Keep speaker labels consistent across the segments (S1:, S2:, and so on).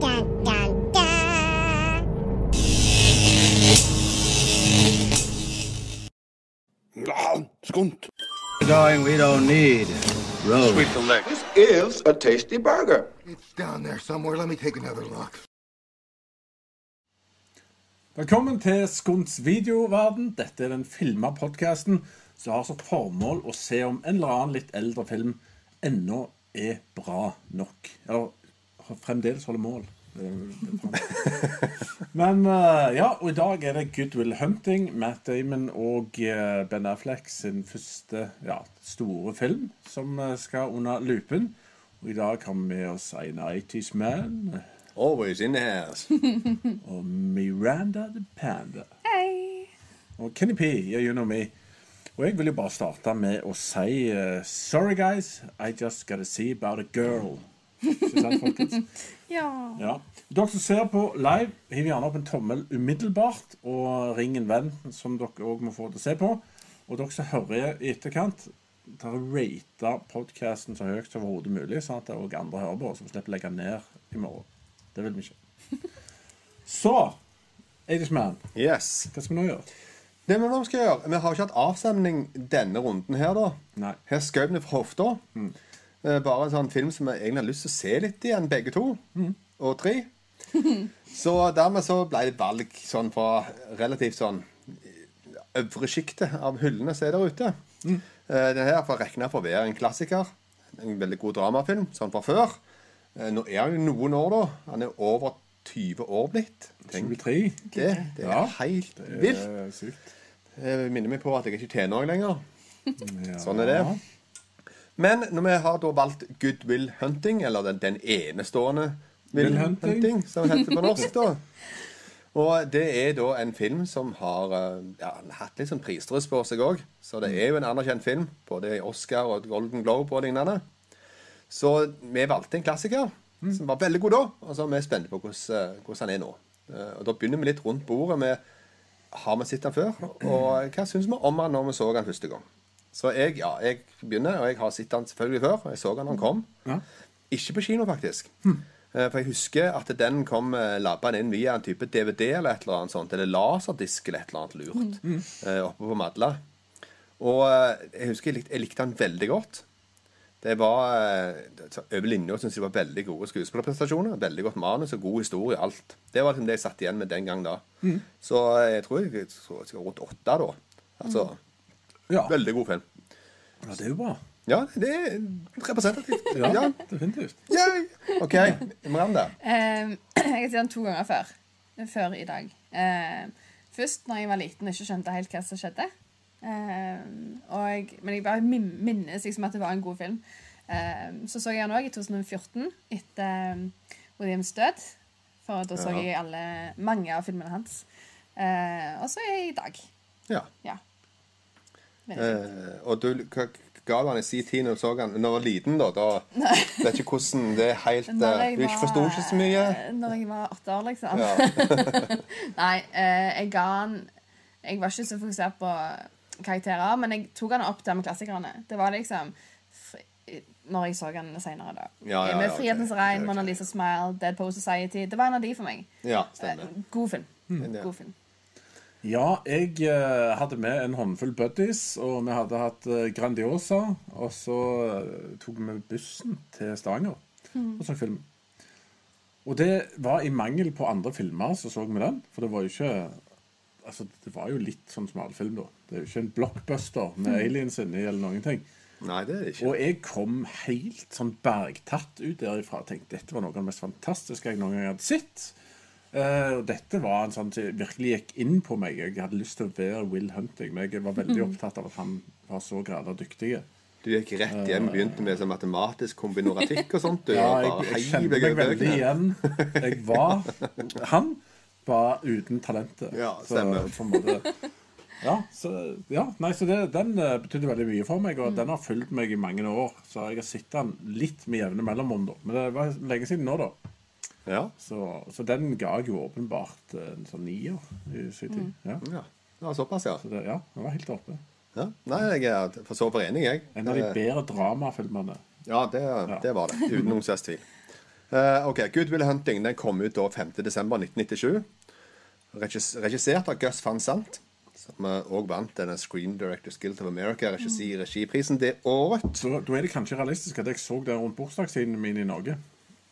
S1: Dun, dun, dun.
S2: Skunt.
S3: going we don't need roads.
S4: is a tasty burger.
S2: It's down there somewhere. Let me take another look.
S5: Velkommen til Skunts videoverden. Dette er den filma podkasten som har som formål å se om en eller annen litt eldre film ennå er bra nok. Eller har- fremdeles holder mål. Det er vel- Men eh, ja, og i dag er det Good Will Hunting, Matt Damon og eh, Ben Affleck sin første ja, store film som eh, skal under lupen. Og i dag har vi med oss en 80's man,
S6: Always in the house.
S5: Miranda the Panda.
S7: Hei.
S5: Og Kenny P, yeah, you know me. Og jeg vil jo bare starte med å si eh, Sorry guys, I just gotta see about a girl. Ikke sant, folkens?
S7: Ja.
S5: Ja. Dere som ser på live, hiv gjerne opp en tommel umiddelbart, og ring en venn som dere òg må få til å se på. Og dere som hører i etterkant, ta og rate podkasten så høyt som overhodet mulig, sånn at òg andre hører på, som slipper å legge ned i morgen. Det vil vi ikke. Så Eidishman,
S6: Yes.
S5: hva skal vi nå gjøre?
S6: Det vi nå skal gjøre, vi har ikke hatt avstemning denne runden her, da.
S5: Nei.
S6: Her skjøt vi fra hofta. Eh, Bare en sånn film som vi egentlig har lyst til å se litt igjen, begge to. Og tre. så dermed så ble det valg sånn fra relativt sånn øvre sjiktet av hyllene som er der ute. Mm. Den her får regne for å være en klassiker. En veldig god dramafilm, sånn fra før. Eh, Nå er han jo noen år, da. Han er over 20 år blitt. Tenk
S5: 23?
S6: det. Det er
S5: Ja.
S6: helt vilt.
S5: Eh, sykt.
S6: Det Eh, minner meg på at jeg er ikke tenåring lenger. Sånn er det. Men når vi har da valgt Good Will Hunting, eller den, den enestående Will,
S5: Will Hunting.
S6: Hunting. som den heter på norsk, da. Og det er da en film som har eh, ja, hatt litt sånn prisdryss på seg òg. Så det er jo en anerkjent film, både i Oscar og Golden Globe og lignende. Så vi valgte en klassiker som var veldig god da, og så er vi spente på hvordan, eh, hvordan han er nå. Eh, Og da begynner vi litt rundt bordet med har vi sett den før, og hva syns vi om han når vi så han første gang? Så jeg, ja, jeg begynner, og jeg har sett han selvfølgelig før. og Jeg så han når han kom.
S5: Ja.
S6: Ikke på kino, faktisk. Eh, For jeg husker at den kom eh, labben inn via en type DVD eller et eller annet sånt, eller laserdisk eller et eller annet lurt eh, oppe på Madla. Og eh, jeg husker jeg likte, jeg likte han veldig godt. Det var eh, så Over linja syns jeg det var veldig gode skuespillerprestasjoner. Veldig godt manus og god historie. Alt. Det var liksom det jeg satt igjen med den gang da.
S7: Mm.
S6: Så eh, jeg tror jeg, så jeg skal rundt åtte da. Altså,
S7: Mm.
S5: Ja.
S6: Veldig god film.
S5: ja, det er jo bra.
S6: Ja, det er representativt.
S5: Ja,
S6: ja.
S5: definitivt.
S6: Yay! OK, Miranda.
S7: Ehm, jeg har sett den to ganger før. Før i dag. Ehm, først når jeg var liten og ikke skjønte helt hva som skjedde. Ehm, og, men jeg bare min- minnes liksom at det var en god film. Ehm, så så jeg den òg i 2014, etter ehm, Williams død. For da så
S6: Ja.
S7: jeg alle, mange av filmene hans. Ehm, og så er jeg i dag.
S6: Ja.
S7: Ja. Veldig fint.
S6: Eh, og du hva ga du han i sin tid når du så han når du var liten, da? da vet ikke hvordan Det er helt
S7: Når
S6: eh,
S7: jeg
S6: Du
S7: var-
S6: ikke forsto ikke så mye?
S7: Når jeg var åtte år, liksom.
S6: Ja.
S7: Nei, eh, jeg ga han Jeg var ikke så fokusert på karakterer, men jeg tok han opp der med klassikerne. Det var liksom fri, Når jeg så han senere, da. Eh,
S6: Ja, ja,
S7: med
S6: ja, ok.
S7: 'Frihetens
S6: Ok,
S7: regn',
S6: ok.
S7: 'Mona Lisa Smile', 'Dead Poet Society'. Det var en av de for meg.
S6: ja,
S7: Eh,
S6: stemmer. Mm.
S7: god film.
S6: Ja.
S7: God film.
S5: Ja, jeg eh, hadde med en håndfull buddies, og vi hadde hatt eh, Grandiosa. Og så eh, tok vi bussen til Stavanger
S6: Mm.
S5: og så film. Og det var i mangel på andre filmer så så vi den, for det var jo ikke Altså, det var jo litt sånn smalfilm, da. Det er jo ikke en blockbuster
S6: Mm.
S5: med aliens inni eller noen ting.
S6: Nei, det er det ikke.
S5: Og jeg kom helt sånn bergtatt ut derifra og tenkte dette var noe av det mest fantastiske jeg noen gang hadde sett. Eh, og dette var en sånn som virkelig gikk inn på meg. Jeg hadde lyst til å være Will Hunting, men jeg var veldig opptatt av at han var så grada dyktig.
S6: Du gikk rett hjem og begynte med sånn matematisk kombinatikk og sånt. Du,
S5: Ja,
S6: og
S5: jeg,
S6: bare
S5: jeg
S6: heiv
S5: kjente
S6: deg
S5: meg
S6: over
S5: veldig
S6: bøkene.
S5: igjen. Jeg var han, bare uten talentet.
S6: Ja,
S5: Så,
S6: stemmer.
S5: på en måte. Ja, så, ja, nei, så det, den eh, betydde veldig mye for meg, og den har fulgt meg i mange år. Så jeg har sett den litt med jevne mellomrom, da. Men det var lenge siden nå, da.
S6: Ja.
S5: Så, så den ga jeg jo åpenbart eh, en sånn nier i sin tid. Ja.
S6: ja. Det var såpass, ja.
S5: Så det, ja, den var helt oppe.
S6: ja. Nei, jeg er for så vidt enig, jeg.
S5: En av de
S6: Eh,
S5: bedre dramafilmene.
S6: Ja, det, det var det. Uten noen slags tvil. Eh, ok, Good Will Hunting den kom ut da 5.12.1997. Regis regissert av Gus Van Sant, som òg vant denne Screen Directors Guild of America
S5: Mm.
S6: regi regiprisen det året.
S5: Så da er det kanskje realistisk at jeg så den rundt bursdagssiden min i Norge.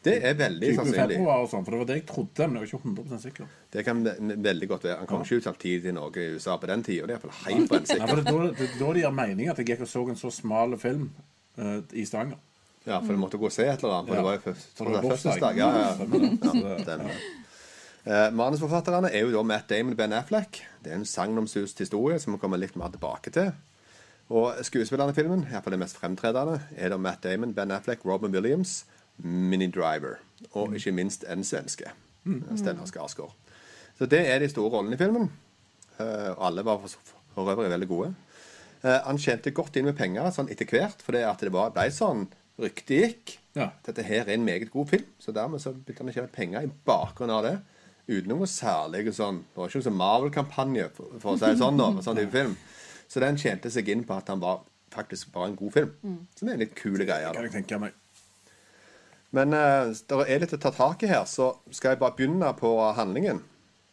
S6: Det er veldig
S5: 20.
S6: sannsynlig.
S5: februar og sånn, for det var det jeg trodde, men jeg var ikke 100 sikker.
S6: Det kan ve- veldig godt være. Han kom ikke ut samtidig i Norge og USA på den tida. Det er iallfall helt
S5: Nei,
S6: brennsikkert.
S5: for det, er da, det, er da det gir mening at jeg gikk og så en så smal film eh, i Stavanger.
S6: Ja, for du måtte gå og se et eller annet. For det var jo først-
S5: For det var
S6: det var
S5: bursdag.
S6: fødselsdag. Ja, ja, ja.
S5: Stemmer det.
S6: Ja, stemmer. Eh, manusforfatterne er jo da Matt Damon og Ben Affleck. Det er en sagnomsust historie som vi kommer litt mer tilbake til. Og skuespillerne i filmen, iallfall det mest fremtredende, er da Matt Damon, Ben Affleck, Robin Williams, Minnie Driver og ikke minst en svenske. Stellar Skarsgård. Så det er de store rollene i filmen. Eh, Og alle var for, for øvrig veldig gode. Eh, Han tjente godt inn med penger sånn etter hvert, fordi at det var, ble sånn ryktet gikk.
S5: Ja.
S6: Dette her er en meget god film, så dermed så begynte han å tjene penger i bakgrunnen av det. Uten noe særlig sånn Det var ikke noen sånn Marvel-kampanje, for, for å si det sånn, da. med sånn type film. Så den tjente seg inn på at han var, faktisk var en god film. Som er en litt kule greier.
S5: Kan
S6: Da.
S5: jeg tenke meg.
S6: Men eh, det er litt å ta tak i her, så skal jeg bare begynne på handlingen.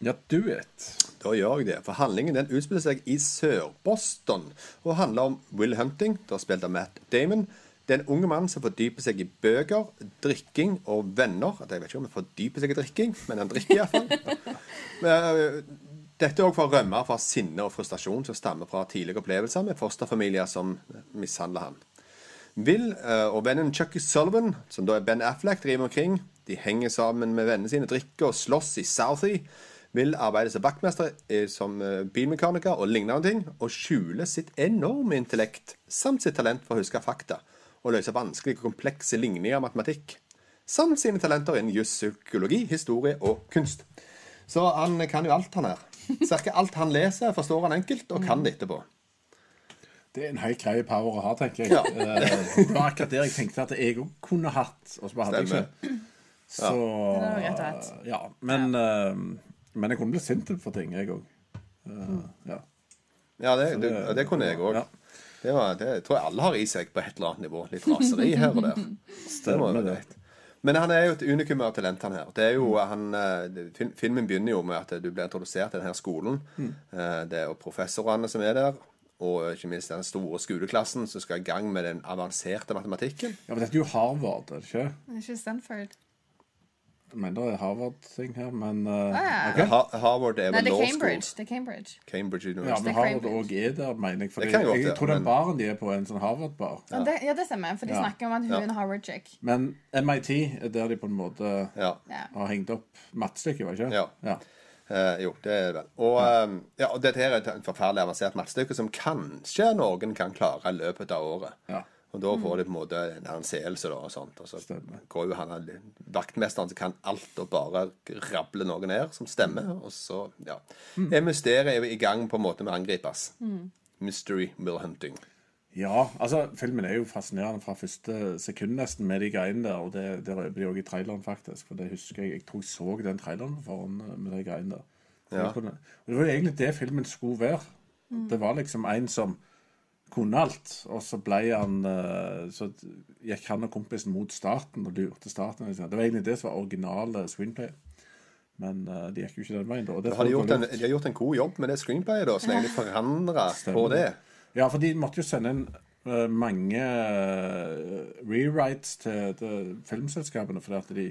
S5: Ja, du vet.
S6: Da gjør jeg det, for handlingen den utspiller seg i Sør-Boston og handler om Will Hunting, da spilt av Matt Damon. Det er en unge mann som fordyper seg i bøker, drikking og venner. At Jeg vet ikke om han fordyper seg i drikking, men han drikker iallfall. eh, Dette er også for å rømme fra sinne og frustrasjon som stammer fra tidligere opplevelser med fosterfamilier som mishandler han. Will eh, og vennen Chucky Sullivan, som da er Ben Affleck, driver omkring. De henger sammen med vennene sine, drikker og slåss i Southie. Will arbeider som vaktmester, eh, som eh, bilmekaniker og lignende ting, og skjuler sitt enorme intellekt samt sitt talent for å huske fakta og løse vanskelige og komplekse ligninger i matematikk. Samt sine talenter innen juss, psykologi, historie og kunst. Så han kan jo alt, han her. Cirka alt han leser, forstår han enkelt og kan det etterpå.
S5: Det er en helt grei power å ha, tenker jeg.
S6: Ja.
S5: Eh, Det var akkurat der jeg tenkte at jeg òg kunne hatt, og så bare hadde jeg ikke. Så
S7: Det var rett og slett.
S5: Ja. Men, eh, men jeg kunne blitt sint for ting, jeg òg. Ja.
S6: Ja, det, det, det kunne jeg òg.
S5: Ja.
S6: Det, var- det tror jeg alle har i seg på et eller annet nivå. Litt raseri her og der.
S5: Stemmer
S6: Det var jo
S5: det.
S6: greit. Men han er jo et unikum av talent, han her. Det er jo, han, eh, det- fil- filmen begynner jo med at du blir introdusert til denne skolen. Eh, Det er jo professorene som er der, og ikke minst den store skoleklassen som skal i gang med den avanserte matematikken.
S5: ja, men dette er jo Harvard, er det ikke?
S6: Ah.
S7: Det er ikke Stanford.
S5: Jeg mener det er Harvard-ting her, men eh,
S7: Ah,
S5: ok.
S6: Ha- Harvard er
S7: Nei,
S6: vel
S7: det er
S6: law
S7: Cambridge.
S6: school.
S7: Det er Cambridge.
S6: Cambridge
S5: Ja,
S6: University.
S5: men Harvard òg er der, mener jeg. Fordi
S6: Det kan godt
S5: jeg,
S6: være,
S5: tror den
S6: men-
S5: baren de er på, er en sånn Harvard-bar.
S7: Ja, det, ja, det stemmer. For de
S5: Ja.
S7: snakker om at hun er en Harvard-chick.
S5: Men MIT er der de på en måte
S6: Ja.
S7: Ja.
S5: har hengt opp mattestykket, var det ikke?
S6: Ja. Eh, jo, det er det vel. Og, eh, ja, og dette her er et forferdelig avansert mattestykke som kanskje noen kan klare i løpet av året.
S5: Ja. Mm.
S6: Og da får de på en måte en anseelse, da, og sånt. Og så
S5: Stemmer.
S6: går jo han vaktmesteren som kan alt, og bare rable noe ned som stemmer.
S5: Mm.
S6: Og så, ja. Er mysteriet jo i gang på en måte med å angripes.
S5: Mm.
S6: Mystery will hunting.
S5: Ja, altså filmen er jo fascinerende fra første sekund nesten med de greiene der, og det, det røper de òg i traileren, faktisk. For det husker jeg. Jeg tror jeg så den traileren på forhånd eh, med de greiene der. Så jeg Kunne, og det var jo egentlig det filmen skulle være. Det var liksom en som kunne alt, og så ble han eh, Så gikk han og kompisen mot staten og lurte staten. Liksom. Det var egentlig det som var originale screenplay. Men eh, de gikk jo ikke den veien, da. og det
S6: Har de, gjort en,
S5: foregår
S6: de har gjort en god jobb med det screenplayet, da, så lenge de forandrer på det.
S5: ja, for de måtte jo sende inn eh, mange eh, rewrites til, til filmselskapene fordi at de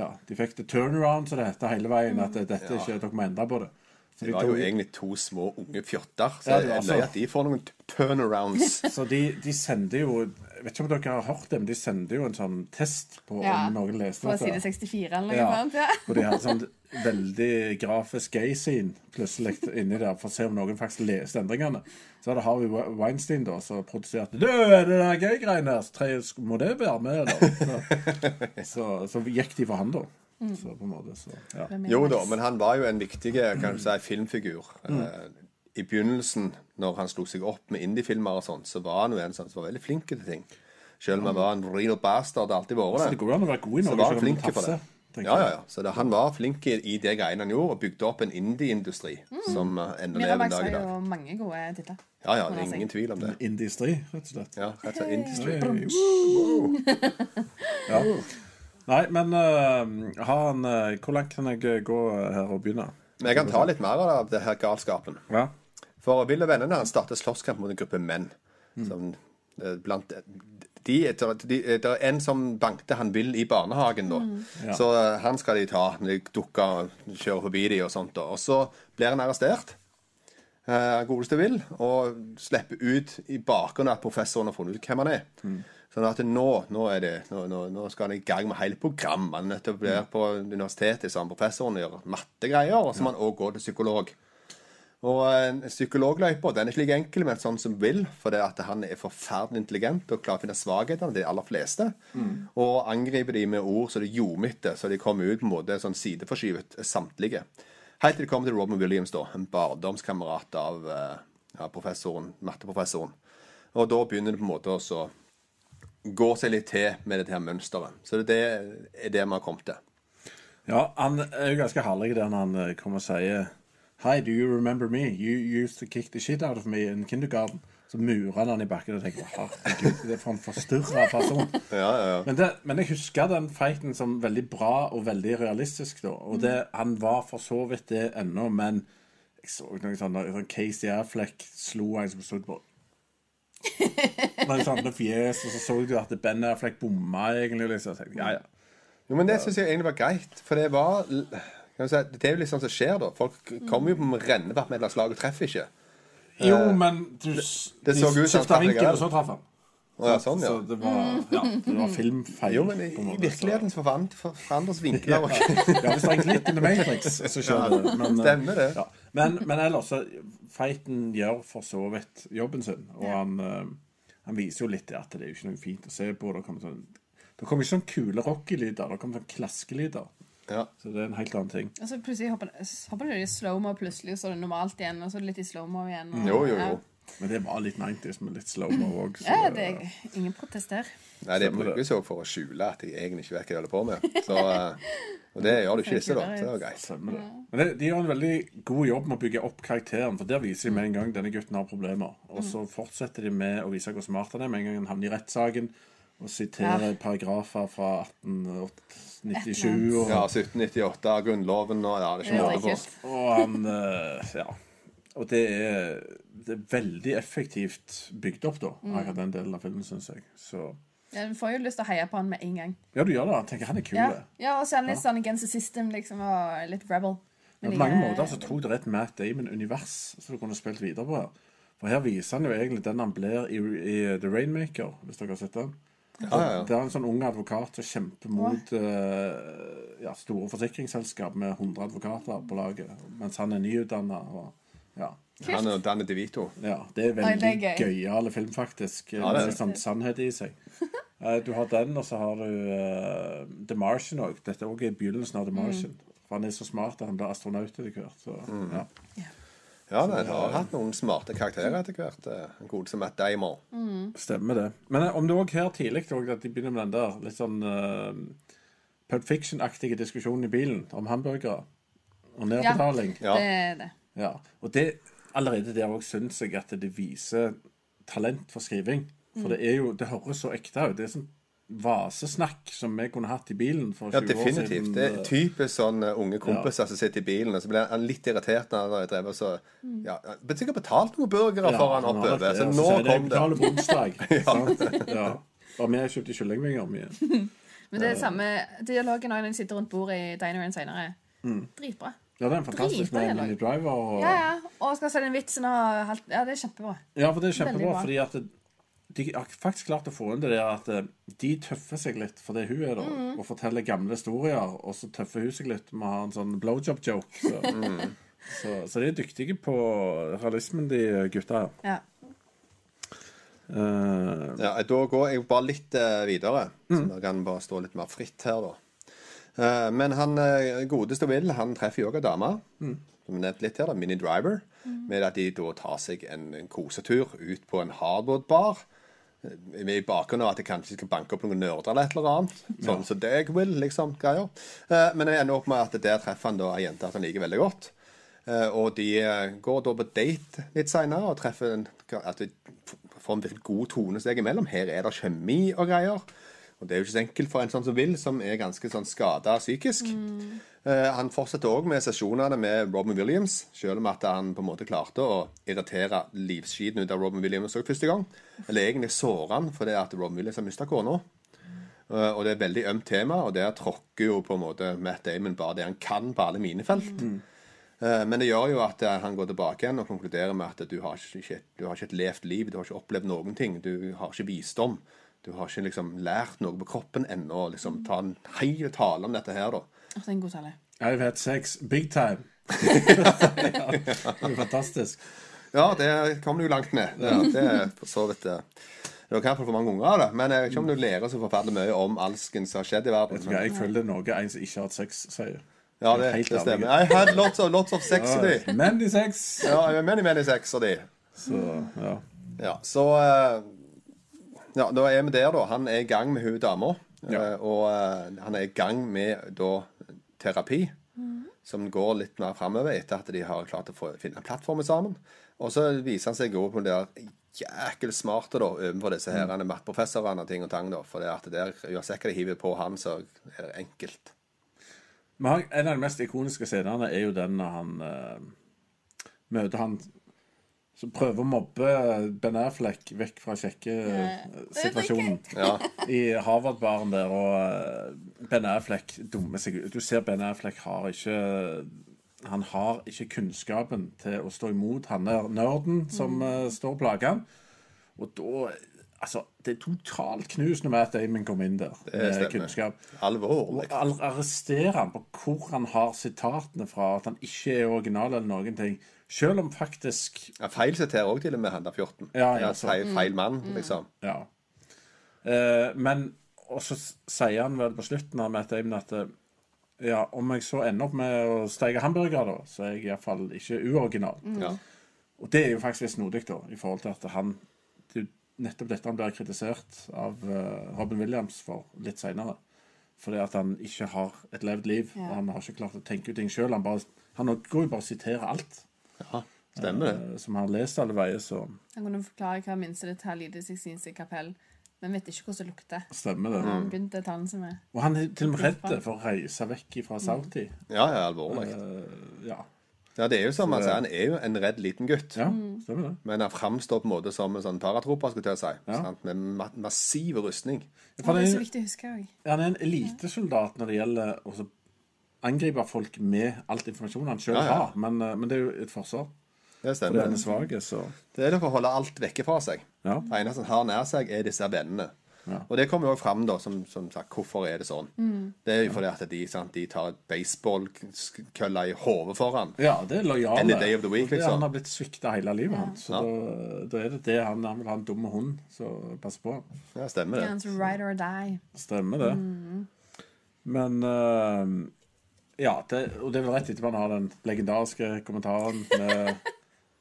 S5: ja, de fikk det turnaround, som det heter, hele veien. At det- dette ikke dere må endre på det. Så
S6: Det
S5: de,
S6: var jo
S5: tok,
S6: egentlig to små unge fjotter, så
S5: Ja, altså.
S6: det
S5: det var
S6: er
S5: så.
S6: løye at de får noen t- turnarounds.
S5: så de, de sender jo Jeg vet ikke om dere har hørt det, men de sender jo en sånn test på
S7: Ja.
S5: om noen leste
S7: På side 64 eller noe sånt. Ja.
S5: og de hadde sånn veldig grafisk gay-scene plutselig inni der for å se om noen faktisk leste endringene. Så var det Harvey We- Weinstein da, som produserte Du, er det der gay-greiene her? Så tre- sk- Må det være med, da? Så, så, så gikk de for han, da. Så på en måte, så ja. Mm.
S6: Jo da, men han var jo en viktig kan du si, filmfigur eh, i begynnelsen, når han slo seg opp med indiefilmer og sånt, så var han jo en sånn som var veldig flink til ting. Selv om han var en real bastard, det har alltid
S5: Så
S6: vært
S5: Altså, det går an å være god i
S6: så
S5: Norge.
S6: var han
S5: selv om du
S6: flink for det.
S5: tafser, tenker
S6: Ja, ja,
S5: jeg.
S6: ja. Så det, han var flink i i de greiene han gjorde, og bygde opp en indie-industri
S5: Mm.
S6: som eh, ennå lever en
S7: Miramax
S6: dag
S7: har
S6: i dag.
S7: jo mange gode titler.
S6: Ja, ja, det
S7: man
S6: er
S7: si.
S6: ingen tvil om det.
S5: Industri, rett og slett.
S6: Ja, rett og slett industry.
S5: Nei, men eh, har han, eh, hvor langt kan jeg eh, gå her og begynne?
S6: Men jeg kan ta litt mer av det her galskapen.
S5: Ja.
S6: For Will og vennene han starter slåsskamp mot en gruppe menn. Som, eh, blant, de, de, de, det er en som bankte han Will i barnehagen, da.
S5: Ja.
S6: Så eh, han skal de ta. De dukker og kjører forbi de og sånt. Da. Og så blir han arrestert. eh, godeste Will, og slipper ut i bakgrunnen at professoren har funnet ut hvem han er. Sånn at nå, nå, er det, nå, nå, nå skal han i gang med hele programmet. Han er nødt til å bli på universitetet sammen med professoren og gjøre mattegreier, og så må han òg gå til psykolog. Og eh, Psykologløypa den er ikke like enkel med en sånn som Will, for det at han er forferdelig intelligent og klarer å finne svakhetene til de aller fleste. Og angriper de med ord så det ljomete, så de kommer ut på en måte sånn sideforskyvet, samtlige. Helt til de kommer til Robin Williams, da, en barndomskamerat av eh, ja, professoren, matteprofessoren. Og da begynner det på en måte å så gå seg litt til med dette her mønsteret. Så det er det vi har kommet til.
S5: ja, han er jo ganske herlig der når han eh, kommer og sier Hi, do you remember me? You used to kick the shit out of me in kindergarten. Så murer han han i bakken og tenker herregud, det er for en forstyrra person. Men, det, men jeg husker den fighten som veldig bra og veldig realistisk, da. Og det, han var for så vidt det ennå, men jeg så noen sånne sånn Casey Affleck slo en som stod på Noen sånne fjes, og så så du at Ben Affleck bomma, egentlig. Liksom. Jeg tenkte, ja, ja.
S6: Jo, men det synes jeg egentlig var greit, for det var kan du si, Det er jo litt sånn som skjer, da. Folk kommer jo på med rennevatt med et eller annet slag og treffer ikke.
S5: Jo, men du s-
S6: Eh, det så
S5: de
S6: ut
S5: skiftet
S6: som han traff
S5: vinkel,
S6: likevel.
S5: og så traff han.
S6: Og ja, sånn, ja.
S5: Så det var,
S7: Mm.
S5: ja, det var filmfeil.
S6: Jo, men i,
S5: på en
S6: i
S5: måte,
S6: virkeligheten så forvand- for- forandres vinkler.
S5: så-
S6: Og,
S5: Ja, hvis det er en glipp in the Matrix, så skjer det. Men, eh,
S6: Stemmer det.
S5: Ja. Men, men ellers, så fighten gjør for så vidt jobben sin. Og han, eh, han viser jo litt det at det er jo ikke noe fint å se på. Det kommer sånn, det kommer ikke sånn kule rockelyder, det kommer sånn klaskelyder.
S6: ja.
S5: Så det er en helt annen ting.
S7: Og så plutselig hopper, hopper du i slow-mo, plutselig så er det normalt igjen, og så er det litt i slow-mo igjen. Og,
S6: Jo, jo, jo.
S5: Men det var litt 90s med litt slow-mo òg.
S7: Ja, ja, det er ingen protester.
S6: Nei, det brukes jo for å skjule at jeg egentlig ikke vet hva jeg holder på med. Så, eh, og det gjør du ikke disse, da. Så det var greit.
S5: Stemmer det. Men det, de gjør en veldig god jobb med å bygge opp karakteren, for der viser de med en gang denne gutten har problemer. Og så fortsetter de med å vise hvor smart han er med en gang han havner i rettssaken, og siterer paragrafer fra 1897. Og,
S6: Ja, altså, 1798, Grunnloven og Ja, det er
S7: Det
S6: ikke
S7: er
S6: måte på.
S7: kult.
S5: og han eh, Ja. Og det er, det er veldig effektivt bygd opp, da, akkurat den delen av filmen, syns jeg. Så
S7: Ja, du får jo lyst til å heie på han med en gang.
S5: Ja, du gjør det. Han tenker han er kul.
S7: Ja,
S5: det.
S7: ja og så er han litt sånn against the system, liksom, og litt rebel.
S5: Men på mange måter altså. så tror jeg det er et Matt Damon-univers som du kunne spilt videre på. her. For her viser han jo egentlig den han blir i, i The Rainmaker, hvis dere har sett den.
S6: Ja, ja, ja.
S5: Det er en sånn ung advokat som kjemper mot eh, ja, store forsikringsselskap med 100 advokater på laget, mens han er nyutdanna. Ja.
S6: Han er Danny DeVito.
S5: ja. Det er
S7: Nei,
S5: veldig
S7: det er gøy.
S5: gøyal film, faktisk.
S6: det er
S5: med litt sånn sannhet i seg. Eh, du har den, og så har du eh, The Martian òg. Dette er også i begynnelsen av The
S7: Mm.
S5: Martian. For han er så smart at han blir astronaut etter hvert. Så,
S6: Mm.
S5: ja.
S6: Ja, nei, han har hatt noen smarte karakterer etter hvert. eh, En god som Matt Damon.
S5: Stemmer det. Men eh, om det òg her tidlig og at de begynner med den der litt sånn uh, Pub Fiction-aktige diskusjonen i bilen om hamburgere og nedbetaling.
S6: Ja.
S7: Det er det.
S5: Ja, og det allerede der òg syns jeg at det viser talent for skriving. For det er jo, det høres så ekte ut. Det er sånn vasesnakk som vi kunne hatt i bilen for 20
S6: Ja,
S5: år siden.
S6: definitivt. Det er typisk sånn eh, unge kompiser som sitter i bilen, og så blir han litt irritert når han drev og så ja, Han blir sikkert betalt noen burgere for han
S5: har
S6: oppover,
S5: det,
S6: så
S5: og
S6: Altså, nå
S5: sier de,
S6: kom det.
S5: «Betaler på onsdag. ja. ja. Og vi kjøpte kyllingvinger mye.
S7: Men det er samme dialogen også når de sitter rundt bordet i dineren senere. Dritbra.
S5: Mm. Ja, det er en fantastisk
S7: Dritbra
S5: med
S7: dialog.
S5: Mini Driver og
S7: Ja, ja. Og skal selge en vits og halvt... Ja, det er kjempebra.
S5: Ja, for det er
S7: Veldig
S5: kjempebra,
S7: bra.
S5: fordi at det, de har faktisk klart å få inn det der at eh, de tøffer seg litt for det hun er, da,
S7: Mm.
S5: og forteller gamle historier, og så tøffer hun seg litt med å ha en sånn blowjob-joke. Så.
S7: Mm.
S5: så, så de er dyktige på realismen, de gutta her.
S7: Ja.
S5: Eh,
S6: Ja, da går jeg bare litt eh, videre,
S5: Mm.
S6: så da kan bare stå litt mer
S5: Mm.
S6: fritt her, da. Eh, men han eh, godeste Will, han treffer jo òg ei dame. som vi nevnte litt her, da, Mini Driver, med at de da tar seg en, en kosetur ut på en hardboardbar. Med I bakgrunnen av at jeg kanskje skal banke opp noen nerder eller et eller annet. Sånn som deg vil, liksom. greier. Eh, men jeg ender opp med at der treffer han da ei jente at han liker veldig godt. Eh, og de eh, går da på date litt seinere og treffer en, at de f- får en virkelig god tone seg imellom. Her er det kjemi og greier. Og det er jo ikke så enkelt for en sånn som Will, som er ganske sånn skada psykisk. Eh, han fortsetter òg med sesjonene med Robin Williams, selv om at han på en måte klarte å irritere livsskiten ut av Robin Williams også første gang. Eller egentlig såre han fordi at Robin Williams har mista kona. Eh, Og det er et veldig ømt tema, og der tråkker jo på en måte Matt Damon bare det han kan på alle mine felt. Eh, Men det gjør jo at eh, han går tilbake igjen og konkluderer med at du har ikke, du har ikke et levd liv, du har ikke opplevd noen ting, du har ikke visdom. Du har ikke liksom lært noe på kroppen ennå. og Liksom, ta en hel tale om dette her, da.
S7: Åh, det er en god tale.
S5: I've had sex big time. ja, det er fantastisk.
S6: Ja, det kom du langt med. Ja, det er for så vidt eh, Det var kanskje for mange unger av det, men eh, jeg vet ikke om du lærer så forferdelig mye om alsken som har skjedd i verden.
S5: Vet du hva, Jeg føler det er noe en som ikke har hatt sex, sier.
S6: Ja, det,
S5: Helt
S6: det stemmer.
S5: ærlig.
S6: I had lots of, lots of sex i de.
S5: Men de sex.
S6: Ja, I had many, many sex of de.
S5: Så, ja.
S6: Ja, så eh, Ja, da er vi der, da. Han er i gang med hun dama.
S5: Ja.
S6: eh, Og eh, han er i gang med da terapi, som går litt mer framover etter at de har klart å få, finne en plattform sammen. Og så viser han seg òg på det der jækkel smarte da, overfor disse her mm. matteprofessorene og ting og tang. da, For det at der, uansett hva de hiver på han, så er det enkelt.
S5: Men han- en av de mest ikoniske scenene er jo den når han eh, møter han som prøver å mobbe Ben Affleck vekk fra kjekkesituasjonen.
S6: Ja,
S5: I Harvard-baren der, og eh, Ben Affleck dummer seg ut. Du ser Ben Affleck har ikke Han har ikke kunnskapen til å stå imot han der nerden som eh, står og plager han. Og da Altså, det er totalt knusende med at Damon kom inn der med
S6: stemmer.
S5: kunnskap.
S6: Alvorlig.
S5: Og al- arrestere han på hvor han har sitatene fra, at han ikke er original eller noen ting. Selv om faktisk
S6: Ja, feil siterer òg til og med han der 14.
S5: Ja, ja, så-
S6: feil, feil mann, liksom.
S5: Ja. Eh, men Og så s- sier han vel på slutten av Matt Damon at eh, ja, om jeg så ender opp med å steke hamburger, da, så er jeg iallfall ikke uoriginal.
S6: Ja.
S5: Og det er jo faktisk litt snodig, da, i forhold til at han Det er jo nettopp dette han blir kritisert av eh, Robin Williams for litt seinere. Fordi at han ikke har et levd liv.
S7: Ja.
S5: og Han har ikke klart å tenke ut ting sjøl. Han, bare- han går jo bare og siterer alt
S6: ja, stemmer det.
S5: eh, som han har lest alle veier, så
S7: Han kunne forklare hver minste detalj i Det sixtinske kapell, men vet ikke hvordan det lukter.
S5: stemmer det.
S6: Mm.
S7: Han begynte talen som er
S5: Og han er til og med redd for å reise vekk
S7: Mm.
S5: fra Saudi.
S6: Ja, ja, alvorlig.
S5: eh, Ja,
S6: Ja, det er jo som han sier, han er jo en redd liten gutt.
S5: ja
S7: Mm.
S5: stemmer det.
S6: Men han framstår på en måte som en sånn paratrooper, skulle jeg til å si.
S5: Ja.
S6: Sant? Med ma massiv rustning.
S5: For
S7: Det er
S5: han,
S7: så
S5: er,
S7: viktig å huske òg.
S5: han er en elitesoldat når det gjelder å så angripe folk med alt informasjon han sjøl
S6: Ja, ja.
S5: har. Men, eh, men det er jo et forsvar.
S6: Det
S5: Fordi han
S6: stemmer.
S5: er svak, så
S6: Det er det for å holde alt vekke fra seg.
S5: Ja.
S6: Det eneste han har nær seg, er disse vennene.
S5: Ja.
S6: Og det kommer jo fram, da, som, som sagt, hvorfor er det sånn? Det er jo fordi at de, sant, de tar baseballkølla i hodet foran.
S5: ja, det er lojale.
S6: Any day of the week,
S5: Det er-
S6: liksom.
S5: Han har blitt svikta hele livet, han. Så
S6: Ja.
S5: da, da er det det han, han vil ha en dum hund, så pass på han.
S6: Ja, stemmer
S7: Det
S6: det.
S7: er hans ride or die.
S5: Stemmer det. Men eh, Ja, det, og det er vel rett etterpå han har den legendariske kommentaren med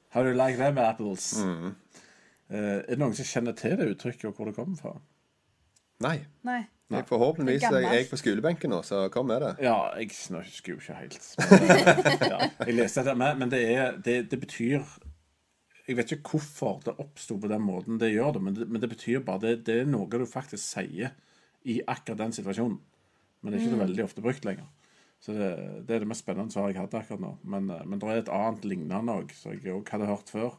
S5: How do you like them apples?
S6: Mm.
S5: Eh, er det noen som kjenner til det uttrykket, og hvor det kommer fra?
S6: Nei.
S7: Nei.
S6: Jeg forhåpentligvis
S7: Det er
S6: er
S7: gammelt.
S6: jeg på skolebenken nå, så kom med det.
S5: Ja, jeg sn- husker jo ikke helt. Men, ja, jeg leste dette, men, men det, er, det, det betyr Jeg vet ikke hvorfor det oppsto på den måten det gjør det, men det, men det betyr bare det, det er noe du faktisk sier i akkurat den situasjonen. Men det er ikke så veldig ofte brukt lenger. Så det, det er det mest spennende svaret jeg hadde akkurat nå. Men, eh, men det er et annet lignende òg, som jeg òg hadde hørt før.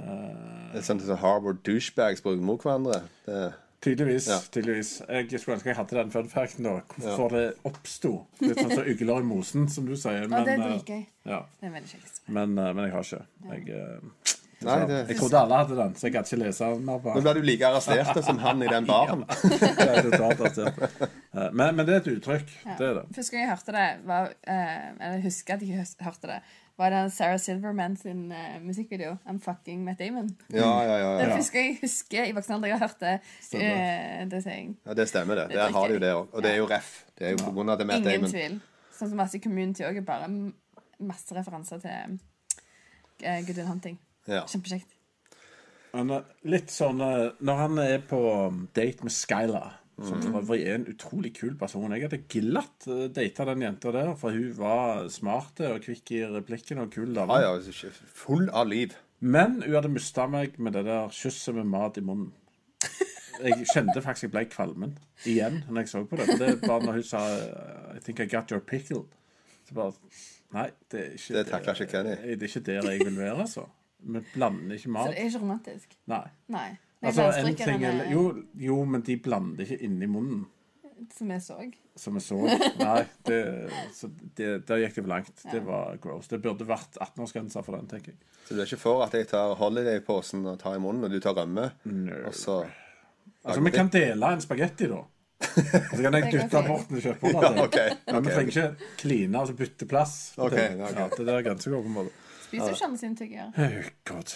S5: Eh,
S6: Det er sånn som Harvard douchebags bruker mot hverandre. Det,
S5: Tydeligvis.
S6: Ja.
S5: tydeligvis. Jeg skulle ønske jeg hadde den fun facten da. Hvorfor det oppsto. Litt sånn som ugler i mosen, som du sier.
S7: Ja, det er
S5: eh,
S7: dritgøy.
S5: ja.
S7: Det er veldig kjekt.
S5: Men, eh, men jeg har ikke. Jeg, eh,
S6: nei, det,
S5: jeg trodde alle hadde den, så jeg gadd ikke lese den mer. på
S6: nå
S5: den.
S6: ble du like arrestert som han i den baren.
S5: Det er totalt arrestert. Eh, Men, men det er et uttrykk. Det er det.
S7: Første gang jeg hørte det, var, eh, eller jeg husker at jeg høs- hørte det, var den Sarah Silverman sin eh, musikkvideo, I'm Fucking Matt Damon.
S6: Ja, ja, ja, ja.
S7: Det er første gang jeg husker i voksen alder jeg har hørt det.
S5: Stemmer.
S7: eh, det sier jeg.
S6: Ja, det stemmer det.
S7: Det
S6: Der har de jo
S7: drikker jeg.
S6: det òg. Og det er jo ref. Det er jo på grunn av det Matt
S7: Ingen
S6: Damon.
S7: tvil. Sånn som masse community også er bare masse referanser til eh, Good Will Hunting.
S6: Ja.
S7: Kjempekjekt.
S5: Han er litt sånn eh, Når han er på um, date med Skyla, som for øvrig er en utrolig kul person Jeg hadde glatt eh, data den jenta der, for hun var smart eh, og kvikk i replikkene og kul dame.
S6: Ah, Ja, ja, ikke full av liv.
S5: Men hun hadde mista meg med det der kysset med mat i munnen. Jeg kjente faktisk jeg ble kvalmen igjen når jeg så på det. For det er bare når hun sa I think I got your pickle. Så bare Nei, det er ikke
S6: Det takler ikke Kenny.
S5: Det er ikke der jeg vil være, altså. Vi blander ikke
S7: Så
S5: mat.
S7: det er ikke romantisk.
S5: Nei.
S7: Nei. Jeg
S5: Altså,
S7: bare eh,
S5: en
S7: stryker
S5: ting
S7: denne
S5: er, jo, jo, men de blander det ikke inni munnen,
S7: Som jeg så.
S5: som jeg så. Nei, det, så det, der gikk det for langt. Det var gross. Det burde vært 18-årsgrense for den, tenker jeg.
S6: Så du er ikke for at jeg tar Holiday-posen og tar i munnen, og du tar rømme? Og så
S5: Altså, Vi kan dele en spagetti, da. Så kan jeg
S7: går
S5: dytte
S7: fint.
S5: bort den og kjøpe
S6: Ja,
S5: den.
S6: OK.
S5: Men vi
S6: ok.
S5: trenger ikke kline, altså bytte plass.
S6: Ok,
S5: det,
S6: ja, ok.
S5: ja, det der er grenser går på en måte.
S7: Spiser jo ikke alle sine tygger.
S5: Åh, God.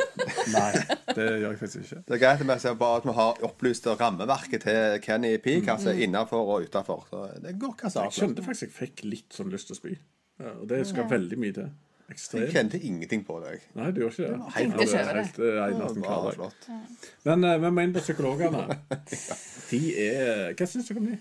S5: Nei, det gjør jeg faktisk ikke.
S6: Det er greit med bare at vi har opplyst rammeverket til Kenny Peak, altså innafor og utafor. Det går hva som
S5: Jeg skjønte faktisk jeg fikk litt sånn lyst til å spy. Ja, og det skal veldig mye til.
S6: Jeg
S5: Ekstremt.
S6: kjente ingenting på deg.
S5: Nei, du gjør ikke det.
S6: helt
S5: Ja, det
S7: flott.
S5: er helt eh,
S6: Det
S5: eneste en
S6: var
S5: klarer.
S6: flott.
S5: Men eh, vi må inn på psykologene. De er Hva syns dere om de?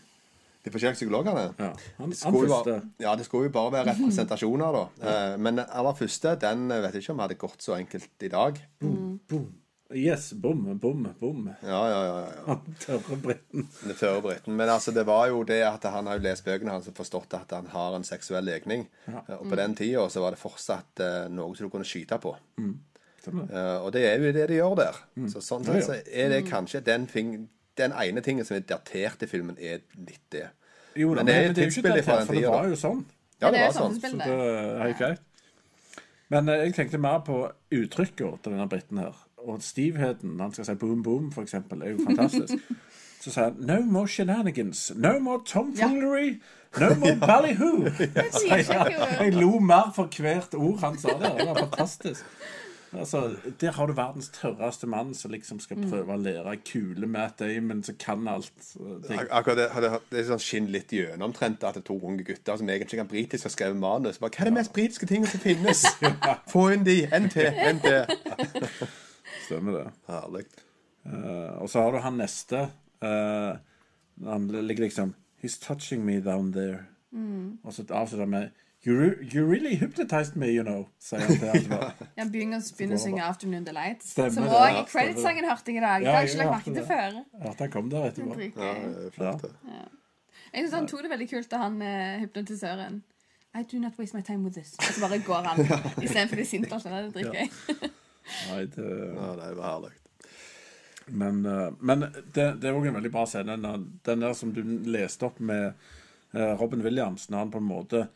S6: De forskjellige psykologene.
S5: Ja, han,
S6: Det
S5: han
S6: skulle, jo
S5: første.
S6: bare, ja, det skulle jo bare være representasjoner, da. Eh, Men den aller første den eh, vet jeg ikke om hadde gått så enkelt i dag.
S5: Boom. Yes, bom, bom, bom.
S6: Ja, ja, ja, ja.
S5: Han tørre britten.
S6: Det fører Briten. Men altså, det var jo det at han har jo lest bøkene hans og forstått at han har en seksuell legning. Eh, Og på den tida så var det fortsatt eh, noe som du kunne skyte på.
S5: Mm. Stemmer. Mm.
S6: Eh, og det er jo det de gjør der. Så sånn
S5: Ja, ja.
S6: sett så er det kanskje den, ting, den ene tingen som er datert i filmen, er litt det.
S5: Jo da,
S6: Men
S5: men,
S6: det er
S5: men det er jo ikke
S6: tidsbildet
S5: det,
S6: fra den
S5: for det
S6: tiden,
S5: var
S6: da.
S5: jo sånn.
S6: Ja, det
S7: er jo
S6: var sånn.
S5: Så
S7: samfunnsbildet.
S5: det er helt greit. Men eh, jeg tenkte mer på uttrykket til denne briten her. Og stivheten. når Han skal si boom, boom, for eksempel, er jo fantastisk. Så sier han no more shenanigans, no more tomfoolery, no more ballyhoo. Altså,
S7: sier ikke jo.
S5: Jeg lo mer for hvert ord han sa der. Det var fantastisk. Altså, Der har du verdens tørreste mann som liksom skal
S7: Mm.
S5: prøve å lære kule Matt Damon, som kan alt. eh, Det
S6: Ak- Akkurat det, det, det er sånn skinn litt gjennom omtrent at det er to unge gutter som egentlig ikke kan britisk, har skrevet manus. Bare, Hva er det mest britiske tinget som finnes? Få inn de! NT! NT!
S5: stemmer, det.
S6: Herlig.
S5: Eh, og så har du han neste. eh, han ligger liksom He's touching me down there.
S7: Mm.
S5: Og så avslutter han med you, re- you really hypnotized me, you know. Sier han til alle.
S7: Ja, begynner, begynner å synge 'Afternoon Delight'.
S5: Stemmer
S7: som
S5: det,
S7: òg
S5: ja,
S7: i creditsangen hørte jeg i
S5: Ja,
S7: dag. det har jeg ikke
S5: jeg
S7: lagt
S5: hørte
S7: merke til før.
S5: At han kom der etterpå.
S7: Dritgøy.
S5: Ja.
S7: Jeg synes han tok det veldig kult da han eh, hypnotisøren I do not waste my time with this. Og så bare går han istedenfor de sinte. og sånn, Det er dritgøy.
S5: Nei, det,
S6: Ja, det var herlig.
S5: men eh, men det, det er òg en veldig bra scene. Den der, den der som du leste opp med eh, Robin Williams, når han på en måte